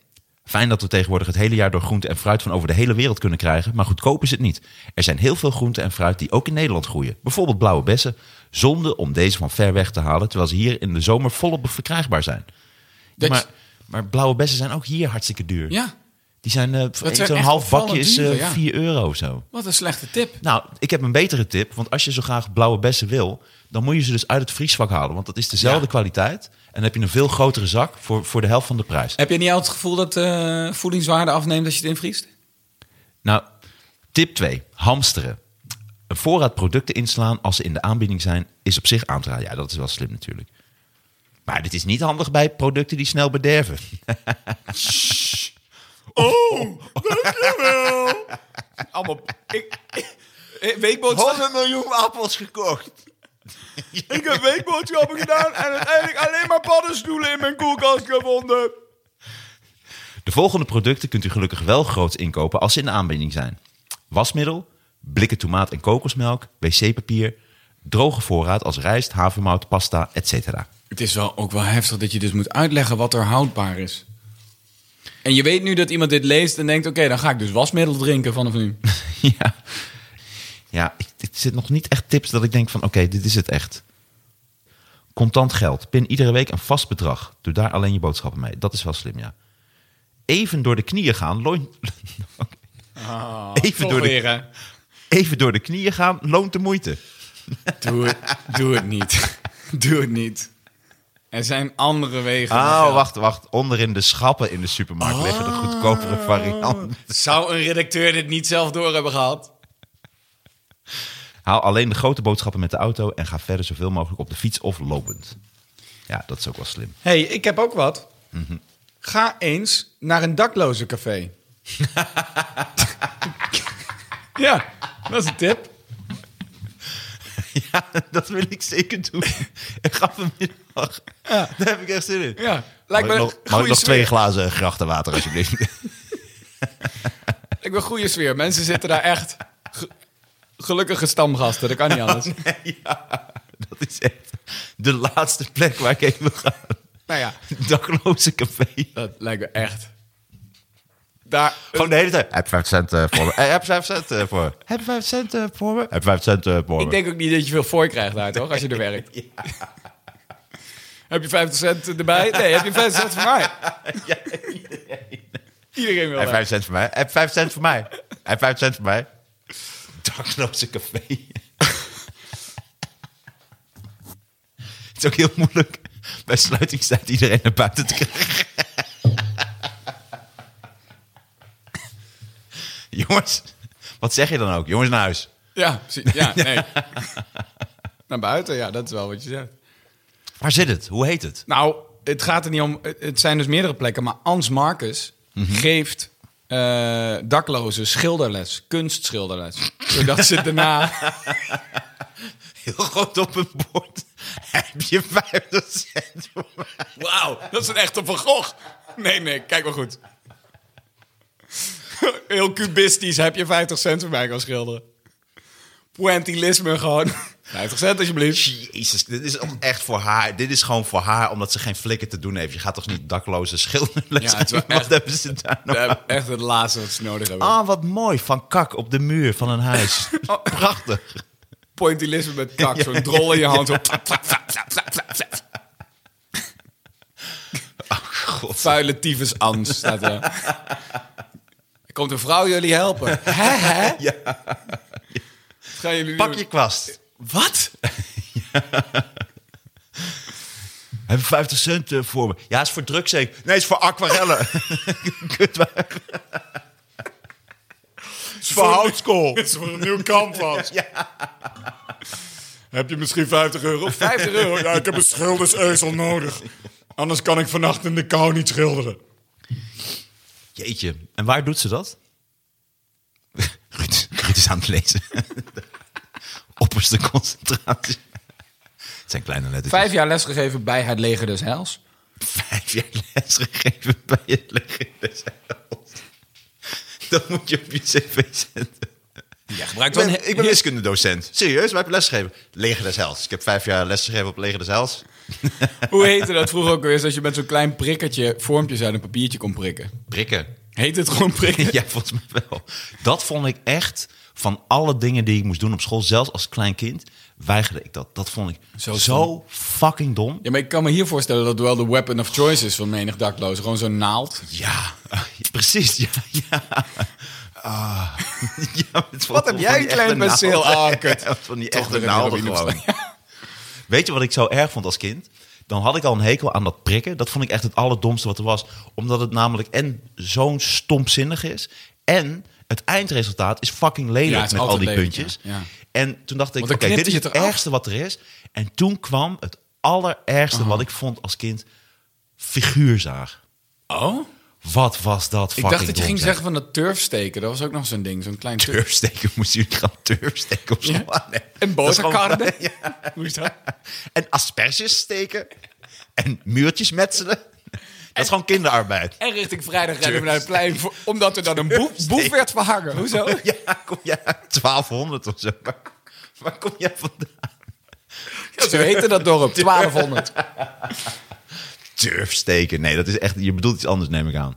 Speaker 2: Fijn dat we tegenwoordig het hele jaar door groente en fruit van over de hele wereld kunnen krijgen, maar goedkoop is het niet. Er zijn heel veel groenten en fruit die ook in Nederland groeien. Bijvoorbeeld blauwe bessen. Zonde om deze van ver weg te halen, terwijl ze hier in de zomer volop verkrijgbaar zijn.
Speaker 3: Dat-
Speaker 2: Maar, maar blauwe bessen zijn ook hier hartstikke duur.
Speaker 3: Ja,
Speaker 2: Die zijn, eh, voor-
Speaker 3: Dat zijn
Speaker 2: zo'n
Speaker 3: echt
Speaker 2: half bakje
Speaker 3: opvallend
Speaker 2: is eh,
Speaker 3: duur, ja.
Speaker 2: 4 euro of zo.
Speaker 3: wat een slechte tip.
Speaker 2: Nou, ik heb een betere tip. Want als je zo graag blauwe bessen wil, dan moet je ze dus uit het vriesvak halen. Want dat is dezelfde kwaliteit. En dan heb je een veel grotere zak voor, voor de helft van de prijs.
Speaker 3: Heb je niet altijd het gevoel dat eh, voedingswaarde afneemt als je het invriest?
Speaker 2: Nou, tip 2. Hamsteren. Een voorraad producten inslaan als ze in de aanbieding zijn, is op zich aan te raden. Ja, dat is wel slim natuurlijk. Maar dit is niet handig bij producten die snel bederven.
Speaker 3: Allemaal... Ik, ik- weekboodschappen.
Speaker 2: miljoen appels gekocht.
Speaker 3: Ik heb *laughs* weekboodschappen gedaan en uiteindelijk alleen maar paddenstoelen in mijn koelkast gevonden.
Speaker 2: De volgende producten kunt u gelukkig wel groot inkopen als ze in de aanbieding zijn. Wasmiddel, blikken tomaat en kokosmelk, wc-papier, droge voorraad als rijst, havermout, pasta, etc.
Speaker 3: Het is wel ook wel heftig dat je dus moet uitleggen wat er houdbaar is. En je weet nu dat iemand dit leest en denkt: oké, dan ga ik dus wasmiddel drinken vanaf nu.
Speaker 2: *laughs* ja, ja ik, het zit nog niet echt tips dat ik denk van oké, dit is het echt. Contant geld. Pin iedere week een vast bedrag. Doe daar alleen je boodschappen mee. Dat is wel slim, ja. Even door de knieën gaan. Loon... *laughs* Oké. even, door de, even door de knieën gaan. Loont de moeite.
Speaker 3: Doe het, doe het niet. *laughs* Doe het niet. Er zijn andere wegen. om
Speaker 2: Oh,
Speaker 3: geld-
Speaker 2: wacht, wacht. Onderin de schappen in de supermarkt liggen de goedkopere varianten.
Speaker 3: Zou een redacteur dit niet zelf door hebben gehad?
Speaker 2: Haal alleen de grote boodschappen met de auto en ga verder zoveel mogelijk op de fiets of lopend. Ja, dat is ook wel slim.
Speaker 3: hey, ik heb ook wat.
Speaker 2: Mhm.
Speaker 3: Ga eens naar een dakloze café. *laughs* ja, dat is een tip.
Speaker 2: *laughs* Ja, dat wil ik zeker doen. *laughs* Ik ga vanmiddag. Daar heb ik echt zin in.
Speaker 3: Ja, lijkt
Speaker 2: mag ik
Speaker 3: me een
Speaker 2: nog, mag
Speaker 3: goede
Speaker 2: ik nog
Speaker 3: sfeer.
Speaker 2: twee glazen grachtenwater *laughs* alsjeblieft?
Speaker 3: Ik ben goede sfeer. Mensen zitten daar echt. Ge- Gelukkige stamgasten, dat kan
Speaker 2: *laughs*
Speaker 3: niet anders.
Speaker 2: dat is echt de laatste plek waar ik heen wil gaan.
Speaker 3: Nou ja,
Speaker 2: Dakloze café.
Speaker 3: dat lijkt me echt. Daar,
Speaker 2: Gewoon de hele tijd. Heb 5 cent eh, voor me. Eh, Heb 5 cent eh, voor me. Heb 5 cent eh, voor me. Heb 5 cent eh, voor me.
Speaker 3: ik denk ook niet dat je veel voor krijgt daar, toch? Als je er *laughs* werkt. Heb je 50 cent erbij? Nee, heb je 50 cent voor mij? Iedereen wil
Speaker 2: Hij heeft
Speaker 3: dat.
Speaker 2: vijf cent voor mij. Hij heeft vijf cent voor mij. Hij heeft vijf cent voor mij. Dakloze café. *laughs* Het is ook heel moeilijk bij sluitingstijd iedereen naar buiten te krijgen. *laughs* Jongens, wat zeg je dan ook? Jongens naar huis.
Speaker 3: Ja, precies. *laughs* Ja, nee. Naar buiten, ja, dat is wel wat je zegt.
Speaker 2: Waar zit het? Hoe heet het?
Speaker 3: Nou, het gaat er niet om. Het zijn dus meerdere plekken. Maar Ans Marcus geeft eh, daklozen schilderles, kunstschilderles. Zodat ze daarna.
Speaker 2: Heel groot op een bord. *laughs* Heb je 50 cent voor mij?
Speaker 3: Wauw, dat is een echte Van Gogh. Nee, nee, kijk maar goed. Heel cubistisch heb je 50 cent voor mij kan schilderen. Pointillisme gewoon. 50 cent alsjeblieft.
Speaker 2: Jezus, dit is ook echt voor haar. Dit is gewoon voor haar, omdat ze geen flikker te doen heeft. Je gaat toch niet dakloze schilderles
Speaker 3: Ja, het is wel
Speaker 2: geven? *laughs* Wat
Speaker 3: echt-
Speaker 2: hebben ze daar
Speaker 3: We
Speaker 2: nog aan?
Speaker 3: hebben echt het laatste wat ze nodig hebben.
Speaker 2: Ah, wat mooi. Van kak op de muur van een huis.
Speaker 3: *laughs* Oh.
Speaker 2: Prachtig.
Speaker 3: Pointillisme
Speaker 2: *laughs*
Speaker 3: met kak, zo'n drol in je hand. Zo.
Speaker 2: Oh, God.
Speaker 3: Vuile tyfus Ans
Speaker 2: *laughs*
Speaker 3: staat er. Er komt een vrouw jullie helpen. Hè, hè? Ja. Gaan jullie
Speaker 2: Pak
Speaker 3: doen?
Speaker 2: je kwast. *laughs*
Speaker 3: Wat?
Speaker 2: Heb je 50 cent eh, voor me? Ja, is voor drugs zeker. Nee, is voor
Speaker 3: *laughs*
Speaker 2: aquarellen. Kutwijf. Is voor houtskool.
Speaker 3: Dit is voor een nieuw canvas. Heb je misschien 50 euro? 50 euro? Ja, ik heb een schildersezel nodig. Anders kan ik vannacht in de kou niet schilderen.
Speaker 2: Jeetje. En waar doet ze dat? *laughs* Ruud, Ruud is aan het lezen. *laughs* Opperste concentratie. Het zijn kleine letters.
Speaker 3: Vijf jaar lesgegeven bij het leger des heils.
Speaker 2: vijf jaar les gegeven bij het leger des Heils. Dat moet je op je cv zetten.
Speaker 3: Ja, gebruikt
Speaker 2: Ik
Speaker 3: wel een
Speaker 2: ben, ik ben wiskundedocent. Serieus, waar heb je les gegeven? Leger des Heils. Ik heb vijf jaar les gegeven op Leger des Heils.
Speaker 3: *laughs* Hoe heette dat vroeger ook weer? Is dat je met zo'n klein prikkertje vormpjes uit een papiertje kon prikken.
Speaker 2: Prikken.
Speaker 3: Heet het gewoon prikken?
Speaker 2: *laughs* Ja, volgens mij wel. Dat vond ik echt van alle dingen die ik moest doen op school, zelfs als klein kind, weigerde ik dat. Dat vond ik
Speaker 3: Zo
Speaker 2: zo, fucking dom.
Speaker 3: Ja, maar ik kan me hier voorstellen dat wel de weapon of choice is van menig dakloos. Gewoon zo'n naald.
Speaker 2: Ja, *laughs* precies. Ja, ja. Ah. *laughs* Ja, het vond-
Speaker 3: Wat heb
Speaker 2: van
Speaker 3: jij,
Speaker 2: die
Speaker 3: klein
Speaker 2: echte
Speaker 3: penseel?
Speaker 2: naalden. *laughs*
Speaker 3: Ah, kut.
Speaker 2: Ja, Van die
Speaker 3: Toch
Speaker 2: echte
Speaker 3: weer een
Speaker 2: naalden
Speaker 3: Halloween
Speaker 2: gewoon. *laughs* Weet je wat ik zo erg vond als kind? Dan had ik al een hekel aan dat prikken. Dat vond ik echt het allerdomste wat er was. Omdat het namelijk en zo'n stomzinnig is... en het eindresultaat is fucking lelijk
Speaker 3: Ja, het is
Speaker 2: met al
Speaker 3: altijd
Speaker 2: die
Speaker 3: lelijk,
Speaker 2: puntjes.
Speaker 3: ja. Ja.
Speaker 2: En toen dacht ik,
Speaker 3: Want
Speaker 2: oké,
Speaker 3: dan
Speaker 2: dit
Speaker 3: knipt
Speaker 2: is
Speaker 3: hij
Speaker 2: het
Speaker 3: het eraf.
Speaker 2: ergste wat er is. En toen kwam het allerergste wat ik vond als kind... figuurzaag.
Speaker 3: Oh?
Speaker 2: Wat was dat
Speaker 3: Ik
Speaker 2: fucking
Speaker 3: dacht dat je
Speaker 2: dom,
Speaker 3: ging
Speaker 2: zeg.
Speaker 3: zeggen van dat turfsteken. Dat was ook nog zo'n ding. Zo'n klein turf.
Speaker 2: Turfsteken, moesten jullie gaan turfsteken of zo?
Speaker 3: Ja.
Speaker 2: Ah, nee.
Speaker 3: En
Speaker 2: Dat is gewoon-
Speaker 3: boterkarden.
Speaker 2: *laughs* Ja.
Speaker 3: Hoe is dat?
Speaker 2: En asperges steken. En muurtjes metselen. Dat is gewoon kinderarbeid.
Speaker 3: En
Speaker 2: *laughs*
Speaker 3: richting vrijdag rennen we naar het plein. voor- omdat er dan een boef, boef werd verhangen. Hoezo?
Speaker 2: Ja, kom jij uit 1200 of zo. Waar, waar kom jij vandaan?
Speaker 3: Zo heette dat
Speaker 2: *laughs*
Speaker 3: dorp. 1200.
Speaker 2: Turfsteken. Nee, dat is echt... Je bedoelt iets anders, neem ik aan.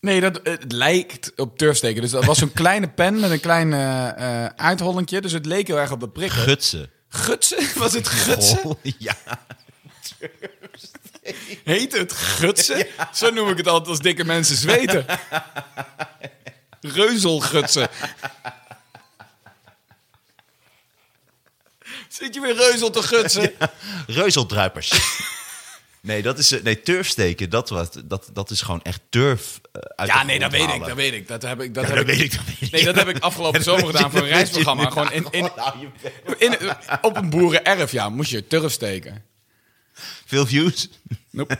Speaker 3: Nee, dat, eh, het lijkt op turfsteken. Dus dat was zo'n *laughs* kleine pen met een klein eh eh, uithollentje. Dus het leek heel erg op dat prikken.
Speaker 2: Gutsen.
Speaker 3: gutsen? *laughs* Was het gutsen?
Speaker 2: Oh, ja.
Speaker 3: Heet het
Speaker 2: *laughs*
Speaker 3: gutsen? Zo noem ik het altijd als dikke mensen zweten. Reuzelgutsen. Zit je weer reuzel te gutsen?
Speaker 2: Reuzeldruipers. Nee, dat is... eh, Nee, turfsteken, dat, was, dat, dat is gewoon echt turf eh, uit
Speaker 3: Ja,
Speaker 2: de
Speaker 3: nee, dat
Speaker 2: grond
Speaker 3: weet
Speaker 2: halen.
Speaker 3: ik. Dat weet ik. Dat heb ik. Dat,
Speaker 2: Ja,
Speaker 3: heb
Speaker 2: dat
Speaker 3: ik.
Speaker 2: weet ik, dat weet ik.
Speaker 3: Nee, dat heb ik afgelopen
Speaker 2: Dat
Speaker 3: zomer
Speaker 2: weet
Speaker 3: gedaan
Speaker 2: je,
Speaker 3: voor een
Speaker 2: dat weet je
Speaker 3: reisprogramma. Gewoon in, in,
Speaker 2: inderdaad. Gewoon, nou, je bent-
Speaker 3: in, op een boerenerf, ja, moest je turf steken.
Speaker 2: Veel views?
Speaker 3: Nope.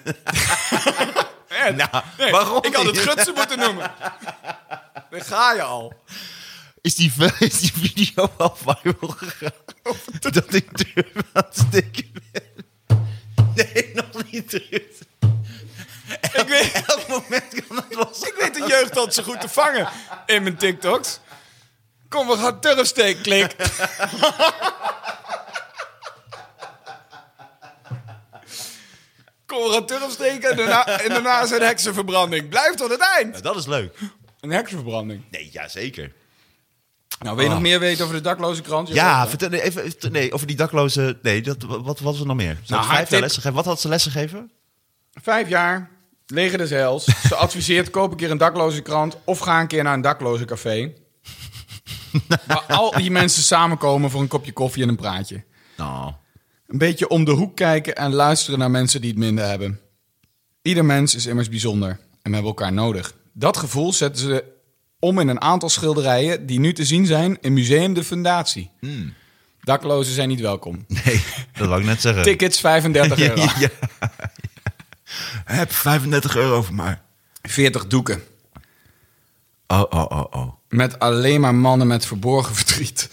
Speaker 2: Nou,
Speaker 3: Nee,
Speaker 2: waarom
Speaker 3: Ik had het
Speaker 2: niet?
Speaker 3: gutsen moeten noemen. Daar ga je al.
Speaker 2: is die, is die video wel viral gegaan? Dat ik durf aan het steken ben. Nee, nog niet terug.
Speaker 3: Ik weet,
Speaker 2: Elk moment kan dat los.
Speaker 3: ik weet de jeugd altijd zo goed te vangen in mijn TikToks. Kom, we gaan turf steken, klik. Kom, we gaan turf steken en daarna, en daarna is een heksenverbranding. Blijf tot het eind.
Speaker 2: dat is leuk.
Speaker 3: Een heksenverbranding.
Speaker 2: Nee, jazeker.
Speaker 3: Nou, wil je nog meer weten over de dakloze krant?
Speaker 2: Ja, vertel nee, even vertel- nee, over die dakloze... Nee, dat, wat, wat was er nog meer? Ze had
Speaker 3: haar
Speaker 2: vijf
Speaker 3: tip-
Speaker 2: jaar lessen gegeven. Wat had ze lessen gegeven?
Speaker 3: Vijf jaar, leger des heils. Ze adviseert, koop een keer een dakloze krant of ga een keer naar een dakloze café. Waar al die mensen samenkomen voor een kopje koffie en een praatje.
Speaker 2: Nou,
Speaker 3: Een beetje om de hoek kijken en luisteren naar mensen die het minder hebben. Ieder mens is immers bijzonder en we hebben elkaar nodig. Dat gevoel zetten ze om in een aantal schilderijen die nu te zien zijn in Museum de Fundatie.
Speaker 2: Hmm.
Speaker 3: Daklozen zijn niet welkom.
Speaker 2: nee, dat wou ik net zeggen.
Speaker 3: Tickets 35
Speaker 2: *laughs*
Speaker 3: euro.
Speaker 2: Ja, ja. Heb 35 euro voor maar.
Speaker 3: 40 doeken.
Speaker 2: Oh, oh, oh, oh.
Speaker 3: Met alleen maar mannen met verborgen *laughs* verdriet.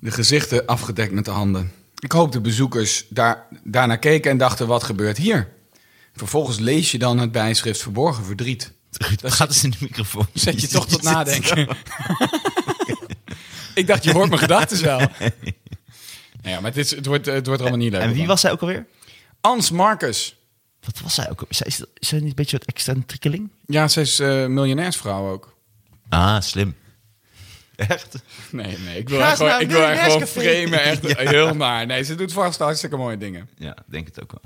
Speaker 3: De gezichten afgedekt met de handen. Ik hoop de bezoekers daar, daarnaar keken en dachten: wat gebeurt hier? Vervolgens lees je dan het bijschrift Verborgen verdriet.
Speaker 2: Ruud, gaat eens in de microfoon.
Speaker 3: Zet je toch tot
Speaker 2: zit
Speaker 3: nadenken. *laughs* ik dacht, je hoort mijn gedachten wel. Nou ja, maar het, is, het, wordt, het wordt er allemaal niet leuk.
Speaker 2: En wie was zij ook alweer?
Speaker 3: Ans Marcus.
Speaker 2: Wat was zij ook alweer? Zij, is, dat- is zij niet een beetje wat excentriekeling?
Speaker 3: Ja, ze is eh, miljonairsvrouw ook.
Speaker 2: Ah, slim. Echt?
Speaker 3: Nee, nee, ik wil
Speaker 2: Ga
Speaker 3: haar
Speaker 2: eens
Speaker 3: gewoon,
Speaker 2: naar
Speaker 3: ik wil haar gewoon
Speaker 2: miljonairscafé.
Speaker 3: framen.
Speaker 2: *laughs*
Speaker 3: Echt heel naar. Nee, ze doet vast hartstikke mooie dingen.
Speaker 2: Ja, denk het ook wel.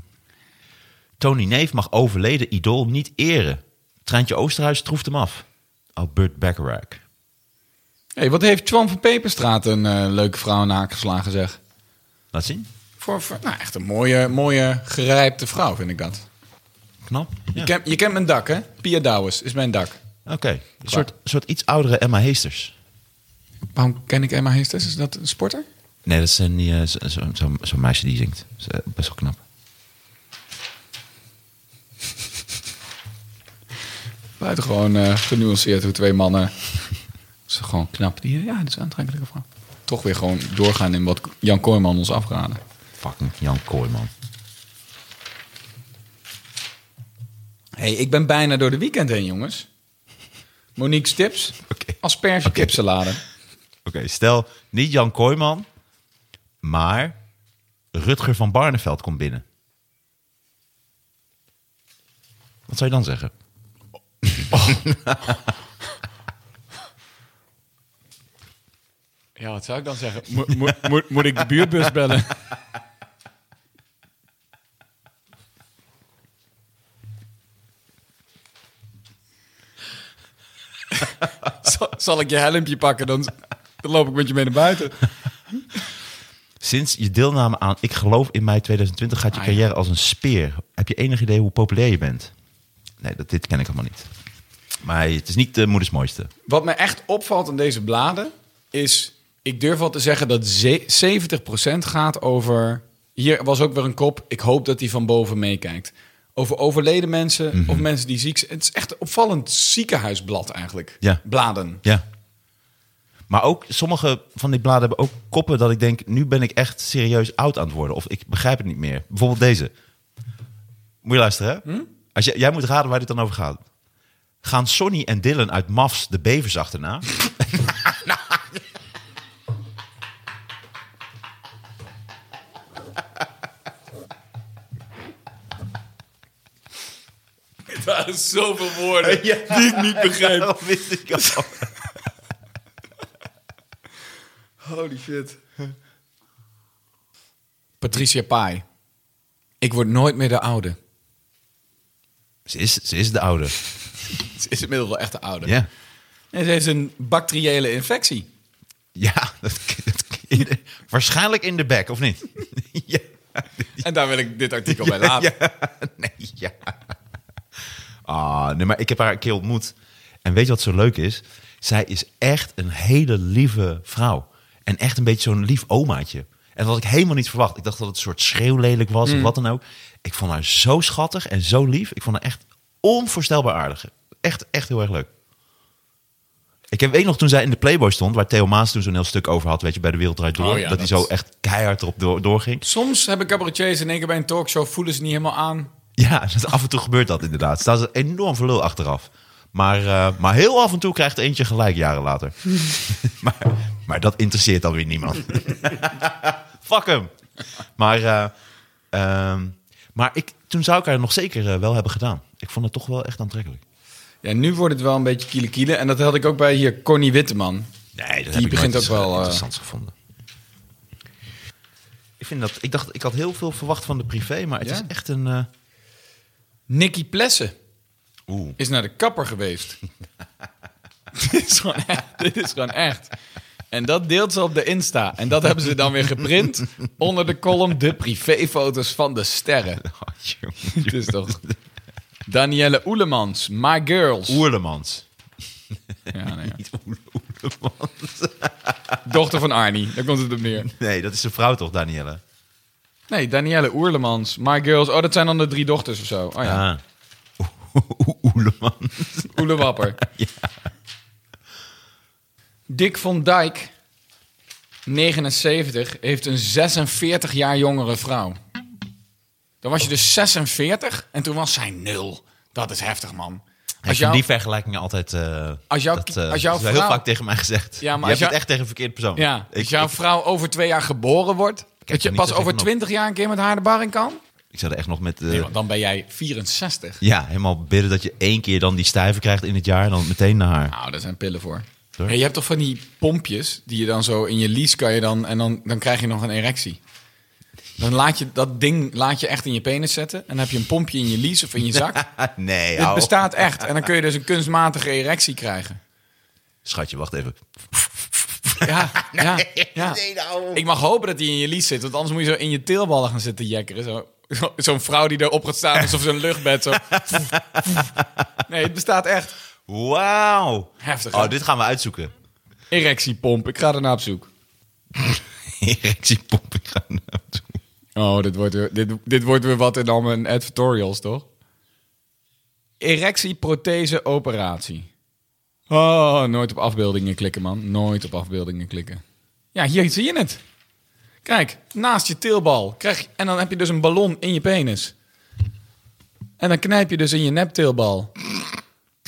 Speaker 2: Tony Neef mag overleden idool niet eren. Treintje Oosterhuis troeft hem af. Albert Bacharach.
Speaker 3: Hey, wat heeft Twan van Peperstraat een eh, leuke vrouw nageslagen, zeg?
Speaker 2: Laat zien.
Speaker 3: Voor, voor- nou, echt een mooie, mooie gerijpte vrouw, vind ik dat.
Speaker 2: Knap. Ja.
Speaker 3: Je, kent, je kent mijn dak, hè? Pia Douwes is mijn dak.
Speaker 2: Oké. Een soort, een soort iets oudere Emma Heesters.
Speaker 3: Waarom ken ik Emma Heesters? Is dat een sporter?
Speaker 2: Nee, dat is een die, eh, zo- zo- zo'n zo'n meisje die zingt. Dat is, eh, best wel knap.
Speaker 3: Buitengewoon eh genuanceerd hoe twee mannen. *laughs* Ze gewoon knap. Die, ja, dat is een aantrekkelijke vrouw. Toch weer gewoon doorgaan in wat Jan Kooijman ons afraadde.
Speaker 2: Fucking Jan Kooijman.
Speaker 3: hey, ik ben bijna door de weekend heen, *laughs* jongens. Monique's tips.
Speaker 2: Oké.
Speaker 3: Asperge kipsalade.
Speaker 2: Oké, stel niet Jan Kooijman, maar Rutger van Barneveld komt binnen. Wat zou je dan zeggen?
Speaker 3: Ja, wat zou ik dan zeggen? Mo- mo- moet- moet ik de buurtbus bellen? *laughs* zal, zal ik je helmpje pakken? Dan, dan loop ik met je mee naar buiten.
Speaker 2: Sinds je deelname aan Ik Geloof in Mei 2020 gaat je carrière als een speer. Heb je enig idee hoe populair je bent? Nee, dat, dit ken ik allemaal niet. Maar het is niet eh, de moeders mooiste.
Speaker 3: Wat me echt opvalt aan deze bladen is, ik durf wel te zeggen dat ze- 70% gaat over. Hier was ook weer een kop. Ik hoop dat die van boven meekijkt. Over overleden mensen of mensen die ziek zijn. Het is echt een opvallend ziekenhuisblad eigenlijk.
Speaker 2: Ja.
Speaker 3: Bladen.
Speaker 2: Ja. Maar ook sommige van die bladen hebben ook koppen dat ik denk... nu ben ik echt serieus oud aan het worden. Of ik begrijp het niet meer. Bijvoorbeeld deze. Moet je luisteren, hè? Als je, jij moet raden waar dit dan over gaat. Gaan Sonny en Dylan uit Mavs de bevers
Speaker 3: *laughs*
Speaker 2: achterna?
Speaker 3: Daar is zoveel woorden die ik niet begrijp.
Speaker 2: *laughs* Dat wist ik al.
Speaker 3: Holy shit. Patricia Pai. Ik word nooit meer de oude.
Speaker 2: Ze is, ze is de oude.
Speaker 3: Ze is inmiddels wel echt de oude.
Speaker 2: Ja.
Speaker 3: En ze heeft een bacteriële infectie.
Speaker 2: Ja, *laughs* dat, dat- in de- waarschijnlijk in de bek, of niet? ja.
Speaker 3: En daar wil ik dit artikel
Speaker 2: *laughs*
Speaker 3: bij laten.
Speaker 2: Nee, *laughs* ja. Ah, nee, maar ik heb haar een keer ontmoet. En weet je wat zo leuk is? Zij is echt een hele lieve vrouw. En echt een beetje zo'n lief omaatje. En dat had ik helemaal niet verwacht. Ik dacht dat het een soort schreeuwlelijk was
Speaker 3: Mm.
Speaker 2: of wat dan ook. Ik vond haar zo schattig en zo lief. Ik vond haar echt onvoorstelbaar aardig. Echt, echt heel erg leuk. Ik heb- weet nog toen zij in de Playboy stond, waar Theo Maas toen zo'n heel stuk over had, weet je, bij de Wereld Draait Door,
Speaker 3: Oh ja,
Speaker 2: dat, hij
Speaker 3: dat-
Speaker 2: zo echt keihard erop door, doorging.
Speaker 3: Soms hebben cabaretiers in één keer bij een talkshow voelen ze niet helemaal aan.
Speaker 2: Ja, *laughs* dat af en toe gebeurt dat inderdaad. Staan ze enorm veel lul achteraf. Maar, eh, maar heel af en toe krijgt eentje gelijk jaren later. *laughs* maar, maar dat interesseert dan weer niemand. *laughs* Fuck hem. Maar, eh, ehm, maar ik, toen zou ik haar nog zeker eh, wel hebben gedaan. Ik vond het toch wel echt aantrekkelijk.
Speaker 3: Ja, nu wordt het wel een beetje kiele kiele. En dat had ik ook bij hier Connie Witteman.
Speaker 2: Nee, dat
Speaker 3: Die begint ook wel, eh,
Speaker 2: interessant gevonden. Ik, vind dat, ik, dacht, ik had heel veel verwacht van de privé, maar het
Speaker 3: Ja?
Speaker 2: is echt een... eh,
Speaker 3: Nicky Plessen
Speaker 2: Oeh.
Speaker 3: is naar de kapper
Speaker 2: *laughs*
Speaker 3: geweest. dit, is gewoon echt, dit is gewoon echt. En dat deelt ze op de Insta. En dat hebben ze dan weer geprint onder de column de privéfoto's van de sterren.
Speaker 2: Oh, jongen,
Speaker 3: *laughs* Het is toch... Danielle Oelemans, My Girls.
Speaker 2: *laughs* Oerlemans.
Speaker 3: Ja, nou ja.
Speaker 2: Niet Oele- Oelemans.
Speaker 3: Dochter van Arnie, daar komt het op neer.
Speaker 2: Nee, dat is een vrouw toch, Danielle?
Speaker 3: Nee, Danielle Oerlemans, My Girls. Oh, dat zijn dan de drie dochters of zo. Oh ja,
Speaker 2: Ah. *laughs* Oe- Oeleman.
Speaker 3: Oelewapper. Dick van Dijk, 79, heeft een 46 jaar jongere vrouw. Dan was je dus 46 en toen was zij nul. Dat is heftig, man.
Speaker 2: Als
Speaker 3: Als jou,
Speaker 2: die vergelijkingen altijd... eh,
Speaker 3: Als jouw-
Speaker 2: dat, eh,
Speaker 3: als jouw
Speaker 2: is wel heel
Speaker 3: vrouw-
Speaker 2: vaak tegen mij gezegd.
Speaker 3: Ja, maar
Speaker 2: Ja, maar
Speaker 3: als
Speaker 2: je hebt het
Speaker 3: jou-
Speaker 2: echt tegen een verkeerde persoon.
Speaker 3: ja,
Speaker 2: ik,
Speaker 3: als jouw
Speaker 2: ik,
Speaker 3: vrouw over twee jaar geboren wordt... dat je
Speaker 2: niet
Speaker 3: pas
Speaker 2: zo
Speaker 3: over
Speaker 2: tegenop.
Speaker 3: 20 jaar een keer met haar de bar in kan?
Speaker 2: ik zou er echt nog met... eh,
Speaker 3: Nee, want dan ben jij 64.
Speaker 2: ja, helemaal bidden dat je één keer dan die stijver krijgt in het jaar... en dan meteen naar haar.
Speaker 3: Nou, daar zijn pillen voor.
Speaker 2: Toch?
Speaker 3: Hey, je hebt toch van die pompjes die je dan zo in je lies kan je dan en dan, dan krijg je nog een erectie. Dan laat je dat ding laat je echt in je penis zetten en dan heb je een pompje in je lies of in je
Speaker 2: *laughs*
Speaker 3: zak.
Speaker 2: Ah, nee,
Speaker 3: Dit
Speaker 2: hou op.
Speaker 3: bestaat echt en dan kun je dus een kunstmatige erectie krijgen.
Speaker 2: Schatje, wacht even. *laughs*
Speaker 3: Ja, ja, ja. Ik mag hopen dat die in je lies zit, want anders moet je zo in je teelballen gaan zitten jekkeren. Zo. Zo- Zo'n vrouw die erop gaat staan alsof ze een luchtbed zo. Nee, het bestaat echt.
Speaker 2: Wauw.
Speaker 3: Heftig, hè?
Speaker 2: Oh, dit gaan we *laughs* uitzoeken.
Speaker 3: Erectiepomp, ik ga ernaar op zoek.
Speaker 2: Erectiepomp, ik ga naartoe.
Speaker 3: Oh, dit wordt weer, dit, dit wordt weer wat in al mijn advertorials, toch? Erectieprothese-operatie. Oh, nooit op afbeeldingen klikken, man. Nooit op afbeeldingen klikken. Ja, hier zie je het. Kijk, naast je teelbal. Krijg, je- en dan heb je dus een ballon in je penis. En dan knijp je dus in je nepteelbal.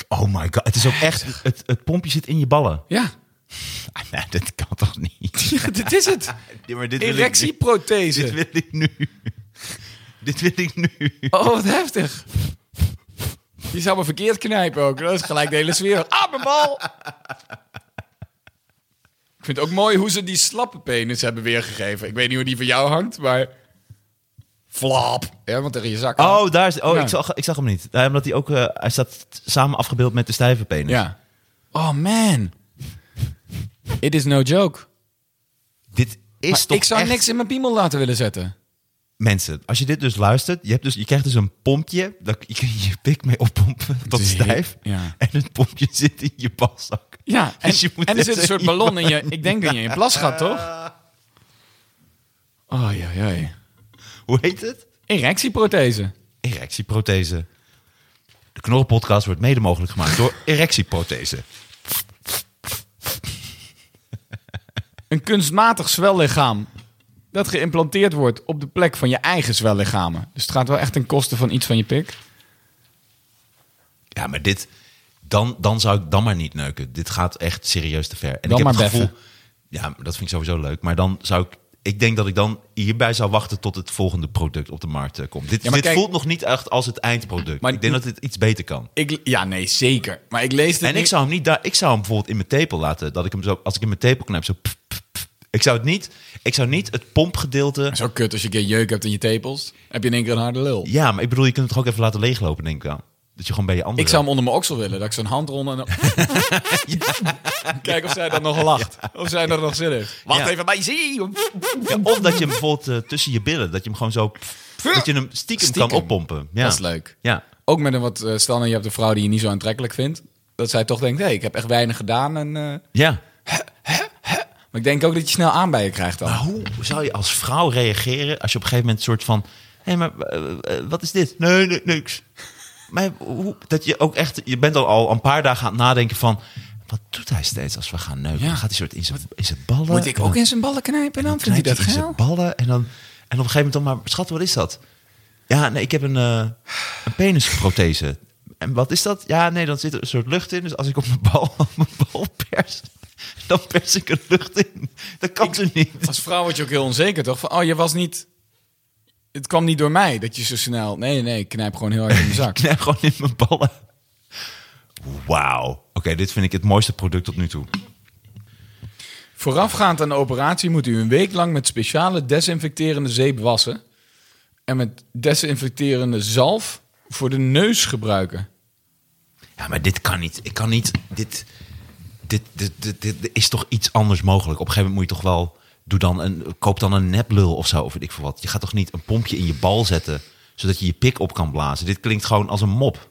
Speaker 2: Oh my god, het is ook echt... Het, het pompje zit in je ballen.
Speaker 3: Ja, *laughs*
Speaker 2: Ah, nee, dit kan toch niet?
Speaker 3: dit is het.
Speaker 2: Ja, maar *laughs* dit wil ik nu. *laughs* Dit
Speaker 3: Erectieprothese.
Speaker 2: wil ik nu. Dit wil ik nu.
Speaker 3: Oh, wat heftig. Je zou me verkeerd knijpen ook. Dat is gelijk de hele sfeer. van, Ah, mijn bal! Ik vind het ook mooi hoe ze die slappe penis hebben weergegeven. Ik weet niet hoe die van jou hangt, maar... Flap. Ja, want tegen je zak. aan.
Speaker 2: Oh, daar is, oh
Speaker 3: Ja.
Speaker 2: ik, zag, ik zag hem niet. Ja, omdat hij ook... eh, hij staat samen afgebeeld met de stijve penis.
Speaker 3: Ja. Oh, man. It is no joke.
Speaker 2: Dit is
Speaker 3: Maar
Speaker 2: toch
Speaker 3: ik zou
Speaker 2: echt-
Speaker 3: niks in mijn piemel laten willen zetten.
Speaker 2: Mensen, als je dit dus luistert, je, hebt dus, je krijgt dus een pompje. Daar kun je kunt je pik mee oppompen *laughs* tot
Speaker 3: is
Speaker 2: stijf.
Speaker 3: heer- ja.
Speaker 2: En het pompje *laughs* zit in je balzak.
Speaker 3: Ja, en,
Speaker 2: Dus je moet
Speaker 3: en er
Speaker 2: even
Speaker 3: zit een soort
Speaker 2: iemand-
Speaker 3: ballon in je... Ik denk dat je in je plas gaat, toch? Oh, ja, ja.
Speaker 2: Hoe heet het?
Speaker 3: Erectieprothese.
Speaker 2: Erectieprothese. De Knorrenpodcast wordt mede mogelijk gemaakt
Speaker 3: *laughs*
Speaker 2: door erectieprothese.
Speaker 3: Een kunstmatig zwellichaam dat geïmplanteerd wordt op de plek van je eigen zwellichamen. Dus het gaat wel echt ten koste van iets van je pik.
Speaker 2: Ja, maar dit... Dan, dan zou ik dan maar niet neuken. Dit gaat echt serieus te ver. En
Speaker 3: Dan
Speaker 2: ik heb
Speaker 3: maar
Speaker 2: het gevoel...
Speaker 3: beffen.
Speaker 2: Ja, maar dat vind ik sowieso leuk. Maar dan zou ik... Ik denk dat ik dan hierbij zou wachten tot het volgende product op de markt eh, komt. Dit,
Speaker 3: Ja, maar
Speaker 2: dit
Speaker 3: kijk-
Speaker 2: voelt nog niet echt als het eindproduct.
Speaker 3: Maar-
Speaker 2: ik denk dat dit iets beter kan.
Speaker 3: Ik, ja, nee, zeker. Maar ik lees dit
Speaker 2: En ik zou hem niet daar. Ik zou hem bijvoorbeeld in mijn tepel laten. Dat ik hem zo. Als ik in mijn tepel knijp, zo. pff, pff, pff. Ik zou het niet. Ik zou niet het pompgedeelte.
Speaker 3: Zo kut als je een keer jeuk hebt in je tepels. Heb je in één keer een harde lul.
Speaker 2: Ja, maar ik bedoel, je kunt het toch ook even laten leeglopen, denk ik aan. Dat je gewoon bij je andere.
Speaker 3: Ik zou hem onder mijn oksel willen. Dat ik zo'n hand rond en... dan- *laughs* Kijk of zij dan nog lacht. Of zij er nog zin heeft. Wacht
Speaker 2: Ja.
Speaker 3: even, maar je zie.
Speaker 2: Ja, of dat je hem bijvoorbeeld eh, tussen je billen. Dat je hem gewoon zo. pff, pff, dat je hem stiekem,
Speaker 3: Stiekem.
Speaker 2: kan oppompen. Ja.
Speaker 3: Dat is leuk.
Speaker 2: Ja.
Speaker 3: Ook met een wat... eh, stel nou, je hebt een vrouw die je niet zo aantrekkelijk vindt. Dat zij toch denkt, hé, ik heb echt weinig gedaan. En, eh,
Speaker 2: Ja.
Speaker 3: Maar ik denk ook dat je snel aan bij je krijgt dan.
Speaker 2: Maar hoe zou je als vrouw reageren als je op een gegeven moment een soort van... Hé, maar eh, eh, wat is dit? Nee, nee, niks. Maar hoe, dat je ook echt... Je bent al, al een paar dagen aan het nadenken van... Wat doet hij steeds als we gaan neuken?
Speaker 3: Ja.
Speaker 2: Dan gaat hij soort in zijn, in zijn ballen.
Speaker 3: Moet ik
Speaker 2: en
Speaker 3: ook
Speaker 2: dan-
Speaker 3: in zijn ballen knijpen dan?
Speaker 2: dan
Speaker 3: Vindt hij
Speaker 2: knijpt
Speaker 3: dat
Speaker 2: in
Speaker 3: geil?
Speaker 2: zijn ballen en dan... En op een gegeven moment dan maar... Schat, wat is dat? Ja, nee, ik heb een, eh, een penisprothese. En wat is dat? Ja, nee, dan zit er een soort lucht in. Dus als ik op mijn bal, *laughs* op mijn bal pers... Dan pers ik er lucht in. Dat kan ze niet.
Speaker 3: *laughs* Als vrouw word je ook heel onzeker, toch? Van, oh, je was niet... Het kwam niet door mij dat je zo snel... Nee, nee, ik knijp gewoon heel hard in mijn *laughs* zak.
Speaker 2: Ik knijp gewoon in mijn ballen. Wauw. Oké, dit vind ik het mooiste product tot nu toe.
Speaker 3: Voorafgaand aan de operatie moet u een week lang met speciale desinfecterende zeep wassen. En met desinfecterende zalf voor de neus gebruiken.
Speaker 2: Ja, maar dit kan niet. Ik kan niet. Dit, dit, dit, dit, dit- dit is toch iets anders mogelijk. Op een gegeven moment moet je toch wel. Doe dan een, koop dan een neplul of zo. Of weet ik veel wat. Je gaat toch niet een pompje in je bal zetten. Zodat je je pik op kan blazen. Dit klinkt gewoon als een mop.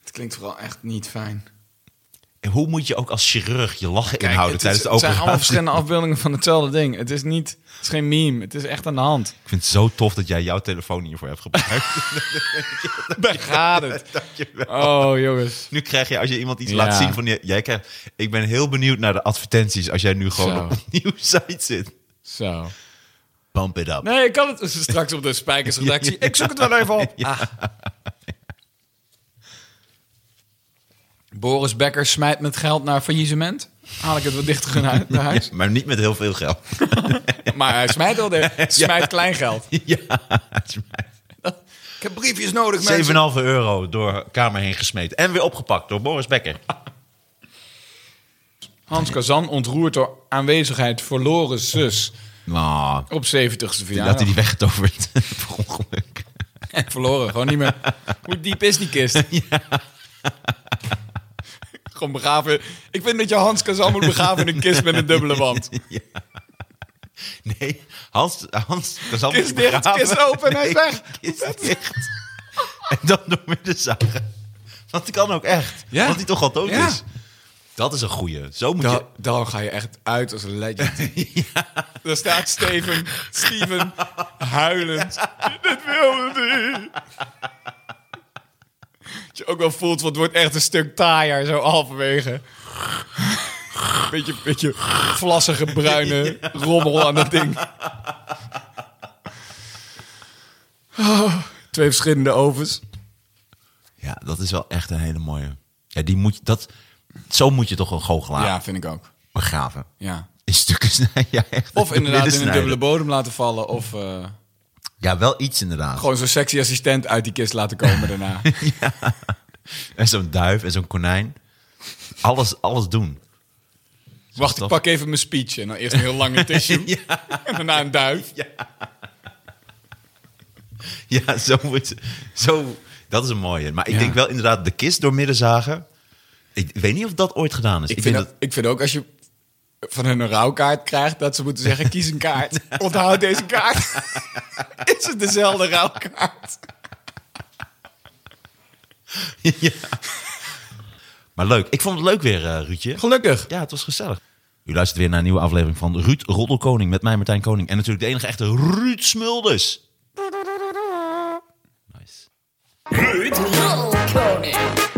Speaker 3: Het klinkt vooral echt niet fijn.
Speaker 2: En hoe moet je ook als chirurg je lachen inhouden
Speaker 3: het,
Speaker 2: tijdens
Speaker 3: is-
Speaker 2: de
Speaker 3: het zijn allemaal
Speaker 2: operatie?
Speaker 3: verschillende afbeeldingen van hetzelfde ding. Het is niet... Het is geen meme. Het is echt aan de
Speaker 2: *laughs*
Speaker 3: hand.
Speaker 2: Ik vind het zo tof dat jij jouw telefoon hiervoor hebt gebruikt.
Speaker 3: Daar gaat
Speaker 2: *laughs*
Speaker 3: het. Oh, jongens.
Speaker 2: Nu krijg je, als je iemand iets
Speaker 3: Ja.
Speaker 2: laat zien van... je- Jij krijgt, ik ben heel benieuwd naar de advertenties als jij nu gewoon
Speaker 3: Zo.
Speaker 2: op een nieuwe site zit.
Speaker 3: Zo.
Speaker 2: Pump it up.
Speaker 3: Nee, ik kan het *laughs* straks op de
Speaker 2: *laughs*
Speaker 3: spijkersredactie. Ik zoek het wel even op. Ah. Boris Becker smijt met geld naar faillissement. Haal ik het wat
Speaker 2: *laughs*
Speaker 3: dichter naar naar huis.
Speaker 2: Ja, maar niet met heel veel geld.
Speaker 3: Maar hij smijt wel de, smijt klein geld.
Speaker 2: ja,
Speaker 3: Ik heb briefjes nodig, mensen.
Speaker 2: 7,5 euro door Kamer heen gesmeten. En weer opgepakt door Boris Becker.
Speaker 3: Ah. Hans Kazan ontroerd door aanwezigheid verloren zus
Speaker 2: Nou,
Speaker 3: op 70ste
Speaker 2: die had hij
Speaker 3: verjaardag.
Speaker 2: die weggetoverd. *laughs* per ongeluk.
Speaker 3: *laughs* Verloren, gewoon niet meer.
Speaker 2: *laughs*
Speaker 3: Hoe diep is die kist? Gewoon begraven. Ik vind dat je Hans Kazan moet begraven in een kist met een dubbele
Speaker 2: *laughs*
Speaker 3: wand.
Speaker 2: Nee, Hans, Hans Kazan
Speaker 3: Kist
Speaker 2: moet
Speaker 3: dicht,
Speaker 2: begraven.
Speaker 3: kist open, hij is weg.
Speaker 2: Kist dicht. En dan door midden zagen. Want die kan ook echt.
Speaker 3: Ja.
Speaker 2: Want die toch al dood
Speaker 3: Ja.
Speaker 2: is. Dat is een goeie. Zo moet je...
Speaker 3: Dan, dan ga je echt uit als een legend. *laughs* Daar staat Steven, Steven huilend. Dit wilde hij. ook wel voelt, want het wordt echt een stuk taaier zo halverwege. Beetje, beetje vlassige bruine rommel aan dat ding. Oh, twee verschillende ovens.
Speaker 2: Ja, dat is wel echt een hele mooie. Ja, die moet, je- dat, zo moet je toch een goochelaar
Speaker 3: Ja, vind ik ook.
Speaker 2: begraven.
Speaker 3: Ja.
Speaker 2: In stukken *laughs* snijden. Ja, echt
Speaker 3: Of
Speaker 2: door midden
Speaker 3: inderdaad in een
Speaker 2: snijden.
Speaker 3: dubbele bodem laten vallen. Of eh,
Speaker 2: Ja, wel iets inderdaad.
Speaker 3: gewoon zo'n sexy assistent uit die kist laten *laughs* komen daarna.
Speaker 2: En zo'n duif en zo'n konijn. Alles, alles doen. *laughs*
Speaker 3: Wacht, ik
Speaker 2: dat-
Speaker 3: pak even mijn speech. En dan eerst een heel *laughs* lange tissue. En daarna een duif.
Speaker 2: Ja, zo wordt zo, Dat is een mooie. Maar ik denk wel inderdaad de kist doormidden zagen. Ik weet niet of dat ooit gedaan is.
Speaker 3: Ik, vind dat, ik vind ook als je van hun een rouwkaart krijgt, dat ze moeten zeggen: kies een *laughs* kaart. Onthoud deze kaart. Is het dezelfde rouwkaart?
Speaker 2: *laughs* Maar leuk. Ik vond het leuk weer, eh Ruudje.
Speaker 3: Gelukkig.
Speaker 2: Ja, het was gezellig. U luistert weer naar een nieuwe aflevering van Ruud Roddelkoning met mij, Martijn Koning. En natuurlijk de enige echte Ruud Smulders. Nice.
Speaker 5: Rolkoning.